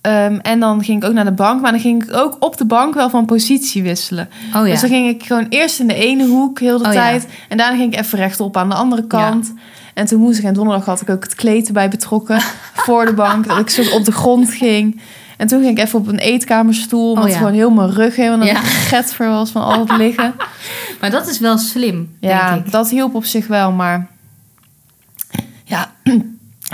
[SPEAKER 1] Ehm, en dan ging ik ook naar de bank, maar dan ging ik ook op de bank wel van positie wisselen.
[SPEAKER 2] Oh ja.
[SPEAKER 1] Dus dan ging ik gewoon eerst in de ene hoek heel de
[SPEAKER 2] Oh ja.
[SPEAKER 1] tijd. En daarna ging ik even rechtop aan de andere kant. En toen woensdag en donderdag had ik ook het kleed erbij betrokken voor de bank. Dat ik zo op de grond ging. En toen ging ik even op een eetkamerstoel. Omdat
[SPEAKER 2] Oh ja.
[SPEAKER 1] gewoon heel mijn rug helemaal
[SPEAKER 2] Ja.
[SPEAKER 1] naar get voor was van al het liggen.
[SPEAKER 2] Maar dat is wel slim,
[SPEAKER 1] ja,
[SPEAKER 2] denk ik.
[SPEAKER 1] dat hielp op zich wel. Maar ja,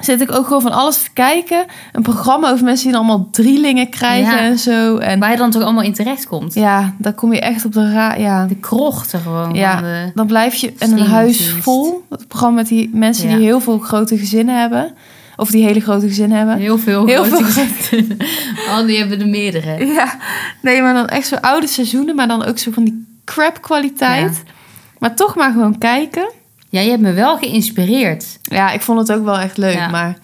[SPEAKER 1] zit ik ook gewoon van alles te kijken. Een programma over mensen die dan allemaal drielingen krijgen
[SPEAKER 2] Ja.
[SPEAKER 1] en zo. En
[SPEAKER 2] Waar je dan toch allemaal in terecht komt.
[SPEAKER 1] ja, dan kom je echt op de ra... Ja.
[SPEAKER 2] De krochten gewoon.
[SPEAKER 1] Ja.
[SPEAKER 2] van de-
[SPEAKER 1] Dan blijf je in een
[SPEAKER 2] Streamingdienst.
[SPEAKER 1] huis vol. Het programma met die mensen
[SPEAKER 2] Ja.
[SPEAKER 1] die heel veel grote gezinnen hebben. Of die hele grote gezinnen hebben.
[SPEAKER 2] Heel veel.
[SPEAKER 1] Heel
[SPEAKER 2] grote
[SPEAKER 1] veel.
[SPEAKER 2] gezinnen. Al die hebben er meerdere.
[SPEAKER 1] Ja, nee, maar dan echt zo oude seizoenen. Maar dan ook zo van die crap kwaliteit. Maar toch maar gewoon kijken.
[SPEAKER 2] Ja, je hebt me wel geïnspireerd.
[SPEAKER 1] Ja, ik vond het ook wel echt leuk.
[SPEAKER 2] Ja.
[SPEAKER 1] Maar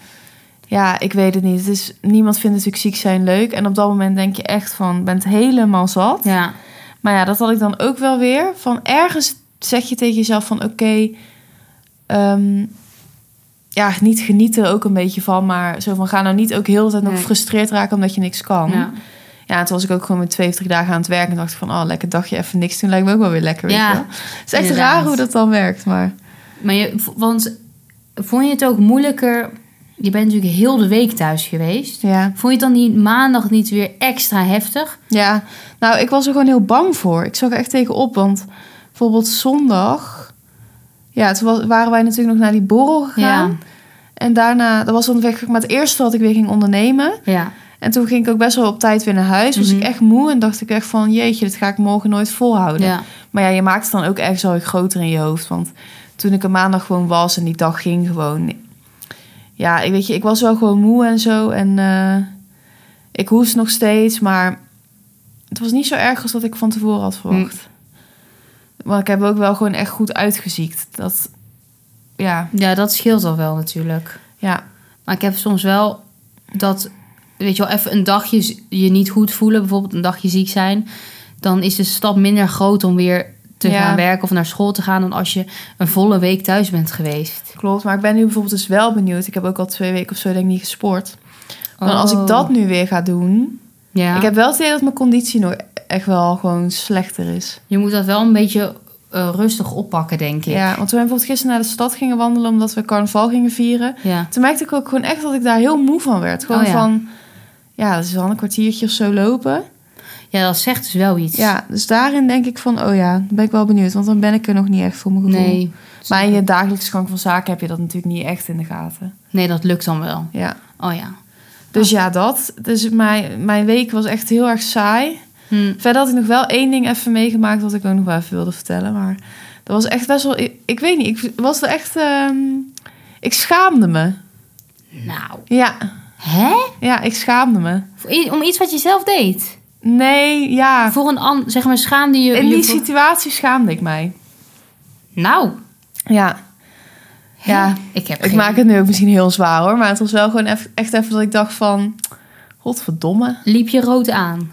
[SPEAKER 1] ja, ik weet het niet. Het is, niemand vindt natuurlijk ziek zijn leuk. En op dat moment denk je echt van, bent helemaal zat.
[SPEAKER 2] Ja.
[SPEAKER 1] Maar ja, dat had ik dan ook wel weer. Van ergens zeg je tegen jezelf van oké, ehm, ja, niet genieten er ook een beetje van. Maar zo van ga nou niet ook heel de tijd nog
[SPEAKER 2] Nee.
[SPEAKER 1] gefrustreerd raken omdat je niks kan.
[SPEAKER 2] Ja.
[SPEAKER 1] Ja. en toen was ik ook gewoon met twee of drie dagen aan het werk en dacht ik van, oh, lekker dagje even niks doen. Lijkt me ook wel weer lekker, weet
[SPEAKER 2] Ja,
[SPEAKER 1] je wel. Het is echt
[SPEAKER 2] inderdaad.
[SPEAKER 1] raar hoe dat dan werkt, maar...
[SPEAKER 2] Maar je, v- want vond je het ook moeilijker? Je bent natuurlijk heel de week thuis geweest.
[SPEAKER 1] Ja.
[SPEAKER 2] Vond je het dan die maandag niet weer extra heftig?
[SPEAKER 1] ja, nou, ik was er gewoon heel bang voor. Ik zag er echt tegenop, want bijvoorbeeld zondag... Ja, toen was- waren wij natuurlijk nog naar die borrel gegaan. En daarna, dat was dan weg, maar het eerste wat ik weer ging ondernemen.
[SPEAKER 2] Ja.
[SPEAKER 1] En toen ging ik ook best wel op tijd weer naar huis. Was
[SPEAKER 2] Mhm.
[SPEAKER 1] ik echt moe en dacht ik echt van... jeetje, dit ga ik morgen nooit volhouden.
[SPEAKER 2] ja.
[SPEAKER 1] Maar ja, je maakt het dan ook ergens al groter in je hoofd. Want toen ik een maandag gewoon was en die dag ging gewoon... Ja, ik weet je, ik was wel gewoon moe en zo. En eh, ik hoest nog steeds, maar... Het was niet zo erg als dat ik van tevoren had verwacht.
[SPEAKER 2] Hm.
[SPEAKER 1] Maar ik heb ook wel gewoon echt goed uitgeziekt. Dat, ja,
[SPEAKER 2] Ja, dat scheelt al wel natuurlijk.
[SPEAKER 1] ja,
[SPEAKER 2] Maar ik heb soms wel dat, weet je wel, even een dagje z- je niet goed voelen, bijvoorbeeld een dagje ziek zijn, dan is de stap minder groot om weer te
[SPEAKER 1] Ja.
[SPEAKER 2] gaan werken of naar school te gaan dan als je een volle week thuis bent geweest.
[SPEAKER 1] Klopt, maar ik ben nu bijvoorbeeld dus wel benieuwd. Ik heb ook al twee weken of zo denk ik niet gesport. Maar als
[SPEAKER 2] Oh.
[SPEAKER 1] ik dat nu weer ga doen...
[SPEAKER 2] Ja.
[SPEAKER 1] Ik heb wel het idee dat mijn conditie nog echt wel gewoon slechter is.
[SPEAKER 2] Je moet dat wel een beetje eh, rustig oppakken, denk ik.
[SPEAKER 1] Ja, want toen we bijvoorbeeld gisteren naar de stad gingen wandelen... omdat we carnaval gingen vieren...
[SPEAKER 2] Ja.
[SPEAKER 1] toen merkte ik ook gewoon echt dat ik daar heel moe van werd. Gewoon
[SPEAKER 2] Oh ja.
[SPEAKER 1] van... Ja, dat is wel een kwartiertje of zo lopen.
[SPEAKER 2] Ja, dat zegt dus wel iets.
[SPEAKER 1] Ja, dus daarin denk ik van... Oh ja, dan ben ik wel benieuwd. Want dan ben ik er nog niet echt voor mijn gevoel.
[SPEAKER 2] Nee.
[SPEAKER 1] Maar in je dagelijkse gang van zaken heb je dat natuurlijk niet echt in de gaten.
[SPEAKER 2] nee, dat lukt dan wel.
[SPEAKER 1] Ja.
[SPEAKER 2] Oh ja.
[SPEAKER 1] Dus ja, dat. Dus mijn, mijn week was echt heel erg saai.
[SPEAKER 2] Hm.
[SPEAKER 1] Verder had ik nog wel één ding even meegemaakt... wat ik ook nog wel even wilde vertellen. Maar dat was echt best wel... Ik, ik weet niet, ik was er echt... ehm, ik schaamde me.
[SPEAKER 2] Nou.
[SPEAKER 1] Ja,
[SPEAKER 2] Hè?
[SPEAKER 1] ja, ik schaamde me.
[SPEAKER 2] Voor i- Om iets wat je zelf deed.
[SPEAKER 1] Nee, ja.
[SPEAKER 2] Voor een ander, zeg maar, schaamde je...
[SPEAKER 1] In
[SPEAKER 2] je
[SPEAKER 1] die
[SPEAKER 2] voor-
[SPEAKER 1] situatie schaamde ik mij.
[SPEAKER 2] Nou.
[SPEAKER 1] Ja,
[SPEAKER 2] Hè?
[SPEAKER 1] Ja.
[SPEAKER 2] Ik heb
[SPEAKER 1] ik
[SPEAKER 2] geen-
[SPEAKER 1] maak het nu ook misschien heel zwaar hoor. Maar het was wel gewoon eff- echt even dat ik dacht van... Godverdomme.
[SPEAKER 2] Liep je rood aan?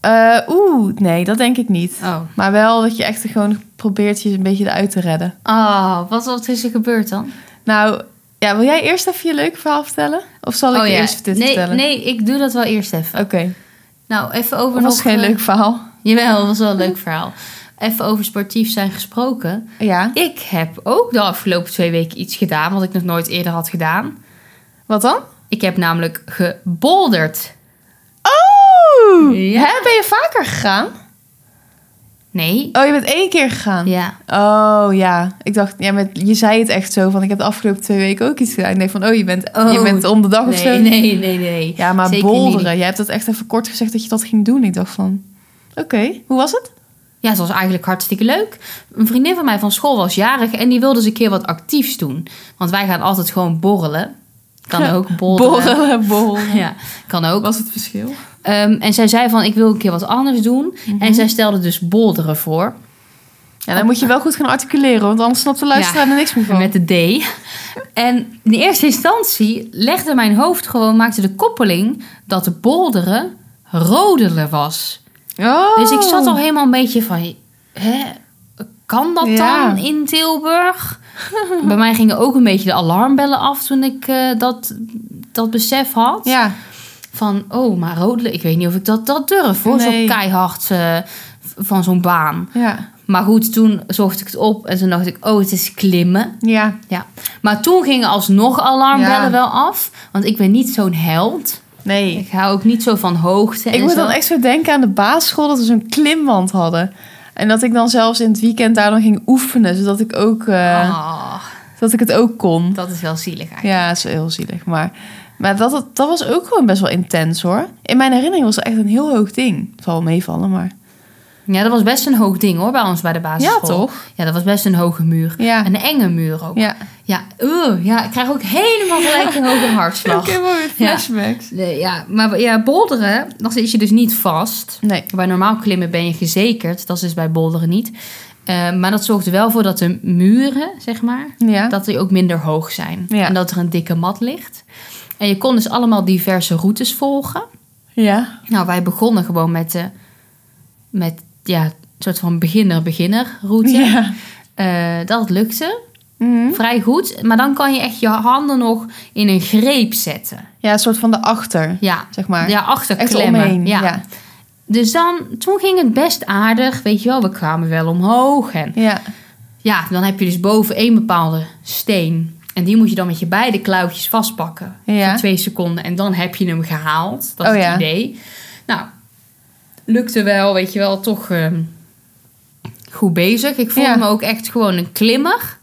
[SPEAKER 1] Eh, Oeh, nee, dat denk ik niet.
[SPEAKER 2] Oh.
[SPEAKER 1] Maar wel dat je echt gewoon probeert je een beetje eruit te redden. Ah.
[SPEAKER 2] Oh, wat, wat is er gebeurd dan?
[SPEAKER 1] Nou, ja, wil jij eerst even je leuke verhaal vertellen? Of zal ik
[SPEAKER 2] oh,
[SPEAKER 1] eerst dit
[SPEAKER 2] nee,
[SPEAKER 1] vertellen?
[SPEAKER 2] Nee, ik doe dat wel eerst even.
[SPEAKER 1] Oké,
[SPEAKER 2] Nou, even over
[SPEAKER 1] dat
[SPEAKER 2] nog...
[SPEAKER 1] was geen
[SPEAKER 2] eh,
[SPEAKER 1] leuk verhaal.
[SPEAKER 2] Jawel, dat was wel een leuk verhaal. Even over sportief zijn gesproken.
[SPEAKER 1] Ja.
[SPEAKER 2] Ik heb ook de afgelopen twee weken iets gedaan wat ik nog nooit eerder had gedaan.
[SPEAKER 1] Wat dan?
[SPEAKER 2] Ik heb namelijk gebolderd.
[SPEAKER 1] Oh!
[SPEAKER 2] Ja.
[SPEAKER 1] Hè, ben je vaker gegaan?
[SPEAKER 2] Nee.
[SPEAKER 1] Oh, je bent één keer gegaan?
[SPEAKER 2] Ja.
[SPEAKER 1] Oh, ja. Ik dacht, ja, met, je zei het echt zo van... Ik heb de afgelopen twee weken ook iets gedaan. Ik denk van, oh, je bent, je
[SPEAKER 2] Oh.
[SPEAKER 1] bent om de dag
[SPEAKER 2] Nee,
[SPEAKER 1] of zo.
[SPEAKER 2] nee, nee, nee, nee.
[SPEAKER 1] Ja, maar
[SPEAKER 2] Zeker
[SPEAKER 1] bolderen.
[SPEAKER 2] niet.
[SPEAKER 1] Jij hebt dat echt even kort gezegd dat je dat ging doen. Ik dacht van, oké, hoe was het?
[SPEAKER 2] Ja, het was eigenlijk hartstikke leuk. Een vriendin van mij van school was jarig en die wilde eens een keer wat actiefs doen. Want wij gaan altijd gewoon borrelen. Kan ook borrelen.
[SPEAKER 1] Borrelen, borrelen.
[SPEAKER 2] Ja, kan ook.
[SPEAKER 1] Was het verschil?
[SPEAKER 2] Ehm, en zij zei van, ik wil een keer wat anders doen.
[SPEAKER 1] Mhm.
[SPEAKER 2] En zij stelde dus bolderen voor.
[SPEAKER 1] Ja, dan moet je wel goed gaan articuleren, want anders snapt de luisteraar er niks meer van.
[SPEAKER 2] Met de D. En in eerste instantie legde mijn hoofd gewoon, maakte de koppeling dat de bolderen rodelen was.
[SPEAKER 1] Oh.
[SPEAKER 2] Dus ik zat al helemaal een beetje van, hè, kan dat
[SPEAKER 1] Ja.
[SPEAKER 2] dan in Tilburg? Bij mij gingen ook een beetje de alarmbellen af toen ik eh, dat, dat besef had.
[SPEAKER 1] Ja,
[SPEAKER 2] Van, oh, maar rodelen, ik weet niet of ik dat, dat durf hoor.
[SPEAKER 1] Nee.
[SPEAKER 2] Zo keihard eh, van zo'n baan.
[SPEAKER 1] ja,
[SPEAKER 2] Maar goed, toen zocht ik het op en toen dacht ik, oh, het is klimmen.
[SPEAKER 1] ja.
[SPEAKER 2] Ja, maar toen gingen alsnog alarmbellen
[SPEAKER 1] Ja.
[SPEAKER 2] wel af. Want ik ben niet zo'n held.
[SPEAKER 1] Nee.
[SPEAKER 2] Ik hou ook niet zo van hoogte
[SPEAKER 1] Ik
[SPEAKER 2] en
[SPEAKER 1] moet
[SPEAKER 2] zo.
[SPEAKER 1] dan echt zo denken aan de basisschool dat we zo'n klimwand hadden. En dat ik dan zelfs in het weekend daar dan ging oefenen, zodat ik, ook, eh,
[SPEAKER 2] Ah,
[SPEAKER 1] dat ik het ook kon.
[SPEAKER 2] dat is wel zielig eigenlijk.
[SPEAKER 1] Ja, dat is wel heel zielig. Maar, maar dat, dat, dat was ook gewoon best wel intens hoor. In mijn herinnering was het echt een heel hoog ding. Het zal wel meevallen, maar.
[SPEAKER 2] Ja. dat was best een hoog ding hoor, bij ons bij de
[SPEAKER 1] Ja,
[SPEAKER 2] basisschool.
[SPEAKER 1] toch?
[SPEAKER 2] Ja, dat was best een hoge muur.
[SPEAKER 1] Ja.
[SPEAKER 2] Een enge muur ook. Ja,
[SPEAKER 1] Ja.
[SPEAKER 2] oeh, ja ik krijg ook helemaal gelijk een hoge hartslag.
[SPEAKER 1] helemaal weer
[SPEAKER 2] flashbacks. Nee, ja, maar ja, bolderen, dan zit je dus niet vast.
[SPEAKER 1] Nee.
[SPEAKER 2] Bij normaal klimmen ben je gezekerd. Dat is dus bij bolderen niet. Eh, maar dat zorgt er wel voor dat de muren, zeg maar,
[SPEAKER 1] Ja.
[SPEAKER 2] dat die ook minder hoog zijn.
[SPEAKER 1] Ja.
[SPEAKER 2] En dat er een dikke mat ligt. En je kon dus allemaal diverse routes volgen.
[SPEAKER 1] Ja.
[SPEAKER 2] Nou, wij begonnen gewoon met, de, met ja, een soort van beginner-beginner route.
[SPEAKER 1] Ja.
[SPEAKER 2] Eh, dat lukte
[SPEAKER 1] Mhm.
[SPEAKER 2] vrij goed. Maar dan kan je echt je handen nog in een greep zetten.
[SPEAKER 1] Ja, een soort van de achter,
[SPEAKER 2] Ja,
[SPEAKER 1] zeg maar.
[SPEAKER 2] ja achter
[SPEAKER 1] echt
[SPEAKER 2] klemmen.
[SPEAKER 1] omheen.
[SPEAKER 2] Ja.
[SPEAKER 1] Ja.
[SPEAKER 2] Dus dan, toen ging het best aardig. Weet je wel, we kwamen wel omhoog. En
[SPEAKER 1] Ja.
[SPEAKER 2] ja, dan heb je dus boven één bepaalde steen. En die moet je dan met je beide klauwtjes vastpakken.
[SPEAKER 1] Ja.
[SPEAKER 2] Voor twee seconden. En dan heb je hem gehaald. Dat
[SPEAKER 1] Oh
[SPEAKER 2] is
[SPEAKER 1] ja.
[SPEAKER 2] het idee. Nou, lukte wel, weet je wel, toch ehm, goed bezig. Ik voelde
[SPEAKER 1] Ja.
[SPEAKER 2] me ook echt gewoon een klimmer.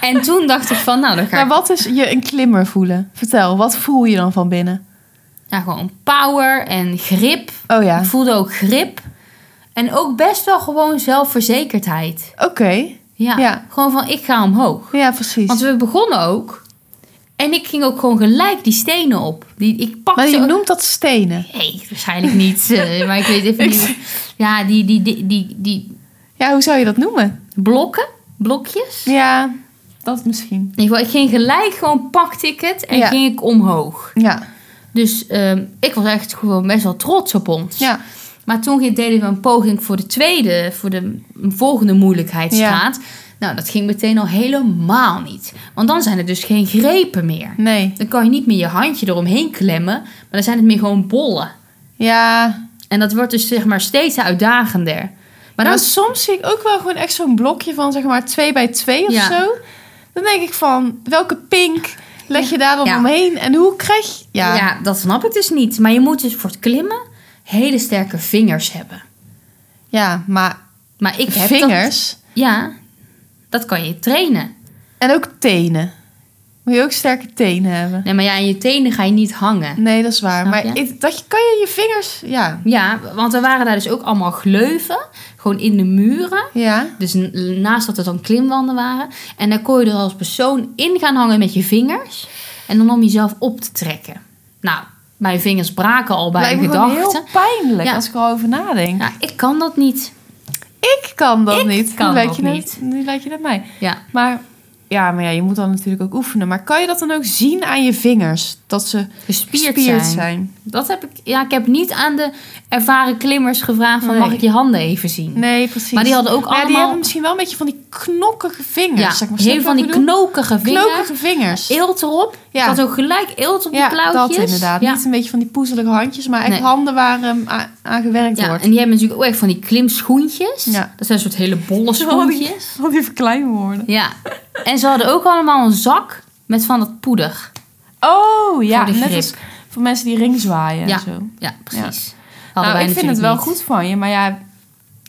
[SPEAKER 2] en toen dacht ik van, nou, dan ga
[SPEAKER 1] Maar
[SPEAKER 2] ik
[SPEAKER 1] wat is je een klimmer voelen? Vertel, wat voel je dan van binnen?
[SPEAKER 2] ja, gewoon power en grip.
[SPEAKER 1] Oh ja.
[SPEAKER 2] Ik voelde ook grip. En ook best wel gewoon zelfverzekerdheid.
[SPEAKER 1] Oké.
[SPEAKER 2] Ja.
[SPEAKER 1] Ja.
[SPEAKER 2] Gewoon van, ik ga omhoog.
[SPEAKER 1] Ja, precies.
[SPEAKER 2] Want we begonnen ook. En ik ging ook gewoon gelijk die stenen op. Die, ik
[SPEAKER 1] Maar
[SPEAKER 2] pakte
[SPEAKER 1] je
[SPEAKER 2] ook...
[SPEAKER 1] noemt dat stenen.
[SPEAKER 2] Nee, waarschijnlijk niet. eh, maar ik weet even niet. Ja, die, die, die, die, die
[SPEAKER 1] Ja, hoe zou je dat noemen?
[SPEAKER 2] blokken. Blokjes.
[SPEAKER 1] Ja, dat misschien.
[SPEAKER 2] In ieder geval, ik ging gelijk gewoon, pakte ik het en
[SPEAKER 1] Ja.
[SPEAKER 2] ging ik omhoog.
[SPEAKER 1] Ja,
[SPEAKER 2] Dus ehm, ik was echt gewoon best wel trots op ons.
[SPEAKER 1] ja,
[SPEAKER 2] Maar toen ging- deden we een poging voor de tweede, voor de volgende moeilijkheidsgraad. Nou, dat ging meteen al helemaal niet. Want dan zijn er dus geen grepen meer.
[SPEAKER 1] nee.
[SPEAKER 2] Dan kan je niet meer je handje eromheen klemmen, maar dan zijn het meer gewoon bollen.
[SPEAKER 1] Ja,
[SPEAKER 2] En dat wordt dus zeg maar steeds uitdagender. Maar
[SPEAKER 1] maar
[SPEAKER 2] dan,
[SPEAKER 1] soms zie ik ook wel gewoon echt zo'n blokje van zeg maar 2 bij 2 of
[SPEAKER 2] Ja.
[SPEAKER 1] zo. Dan denk ik van, welke pink leg je daar dan
[SPEAKER 2] Ja.
[SPEAKER 1] omheen? En hoe krijg je...
[SPEAKER 2] ja. dat snap ik dus niet. Maar je moet dus voor het klimmen hele sterke vingers hebben.
[SPEAKER 1] ja, maar
[SPEAKER 2] Maar ik heb Dat,
[SPEAKER 1] vingers
[SPEAKER 2] ja, dat kan je trainen.
[SPEAKER 1] en ook tenen. Moet je ook sterke tenen hebben.
[SPEAKER 2] Nee, maar ja, aan je tenen ga je niet hangen.
[SPEAKER 1] Nee, dat is waar.
[SPEAKER 2] Snap
[SPEAKER 1] maar
[SPEAKER 2] je?
[SPEAKER 1] ik- dat je, kan je je vingers... Ja,
[SPEAKER 2] Ja, want er waren daar dus ook allemaal gleuven, gewoon in de muren.
[SPEAKER 1] ja,
[SPEAKER 2] Dus n- naast dat het dan klimwanden waren. En dan kon je er als persoon in gaan hangen met je vingers. En dan om jezelf op te trekken. Nou, mijn vingers braken al bij
[SPEAKER 1] lijkt
[SPEAKER 2] de
[SPEAKER 1] me gewoon heel
[SPEAKER 2] gedachte.
[SPEAKER 1] pijnlijk
[SPEAKER 2] Ja.
[SPEAKER 1] als ik erover nadenk.
[SPEAKER 2] Ja, ik kan dat niet.
[SPEAKER 1] Ik kan dat
[SPEAKER 2] Ik
[SPEAKER 1] niet. Nu
[SPEAKER 2] kan
[SPEAKER 1] lijk
[SPEAKER 2] dat
[SPEAKER 1] je net-
[SPEAKER 2] niet.
[SPEAKER 1] Nu lijk je dat mij.
[SPEAKER 2] Ja.
[SPEAKER 1] Maar ja, maar ja, je moet dan natuurlijk ook oefenen. Maar kan je dat dan ook zien aan je vingers? Dat ze
[SPEAKER 2] Gespierd,
[SPEAKER 1] gespierd
[SPEAKER 2] zijn.
[SPEAKER 1] zijn.
[SPEAKER 2] Dat heb ik, ja, ik heb niet aan de ervaren klimmers gevraagd van
[SPEAKER 1] Nee.
[SPEAKER 2] mag ik je handen even zien.
[SPEAKER 1] Nee, precies.
[SPEAKER 2] Maar die hadden ook
[SPEAKER 1] Maar ja, die
[SPEAKER 2] allemaal-
[SPEAKER 1] hebben misschien wel een beetje van die knokkige vingers.
[SPEAKER 2] ja,
[SPEAKER 1] zeg maar. Snap je
[SPEAKER 2] heel van
[SPEAKER 1] wat
[SPEAKER 2] die
[SPEAKER 1] ik bedoel?
[SPEAKER 2] knokige vingers.
[SPEAKER 1] knokige vingers.
[SPEAKER 2] Eelt erop.
[SPEAKER 1] Ja.
[SPEAKER 2] Ik had ook gelijk eelt op die
[SPEAKER 1] Ja,
[SPEAKER 2] klauwtjes.
[SPEAKER 1] dat inderdaad.
[SPEAKER 2] Ja.
[SPEAKER 1] Niet een beetje van die poezelige handjes, maar echt
[SPEAKER 2] Nee.
[SPEAKER 1] handen waar ehm, a- aan gewerkt
[SPEAKER 2] Ja,
[SPEAKER 1] wordt.
[SPEAKER 2] en die hebben natuurlijk ook echt van die klimschoentjes.
[SPEAKER 1] Ja.
[SPEAKER 2] Dat zijn een soort hele bolle schoentjes.
[SPEAKER 1] Al die verkleinwoorden.
[SPEAKER 2] Ja. En ze hadden ook allemaal een zak met van dat poeder.
[SPEAKER 1] Oh ja,
[SPEAKER 2] Voor de
[SPEAKER 1] net
[SPEAKER 2] grip.
[SPEAKER 1] als voor mensen die ring zwaaien
[SPEAKER 2] Ja.
[SPEAKER 1] en zo.
[SPEAKER 2] Ja, precies.
[SPEAKER 1] Nou,
[SPEAKER 2] Hadden wij
[SPEAKER 1] ik vind het
[SPEAKER 2] natuurlijk
[SPEAKER 1] wel
[SPEAKER 2] niet.
[SPEAKER 1] goed van je, maar ja,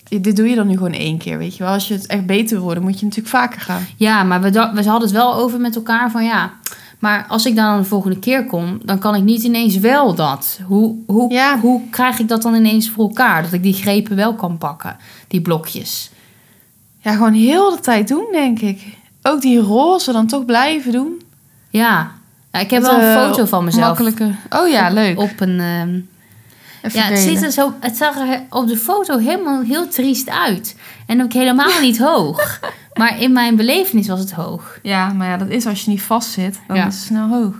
[SPEAKER 1] je- dit doe je dan nu gewoon één keer, weet je wel. Als je het echt beter wil worden, moet je natuurlijk vaker gaan.
[SPEAKER 2] Ja, maar we, da- we hadden het wel over met elkaar van ja. Maar als ik dan de volgende keer kom, dan kan ik niet ineens wel dat. Hoe, hoe,
[SPEAKER 1] Ja.
[SPEAKER 2] hoe krijg ik dat dan ineens voor elkaar? Dat ik die grepen wel kan pakken, die blokjes.
[SPEAKER 1] Ja, gewoon heel de tijd doen, denk ik. Ook die roze dan toch blijven doen.
[SPEAKER 2] Ja. Ja, ik heb
[SPEAKER 1] Het,
[SPEAKER 2] wel een
[SPEAKER 1] eh,
[SPEAKER 2] foto van mezelf.
[SPEAKER 1] Makkelijker. Oh ja, leuk.
[SPEAKER 2] Op een... ehm,
[SPEAKER 1] Even
[SPEAKER 2] ja, het,
[SPEAKER 1] delen.
[SPEAKER 2] ziet er zo, het zag er op de foto helemaal heel triest uit. En ook helemaal niet hoog. Maar in mijn belevenis was het hoog.
[SPEAKER 1] Ja, maar ja, dat is als je niet vastzit, dan
[SPEAKER 2] Ja.
[SPEAKER 1] is het snel hoog.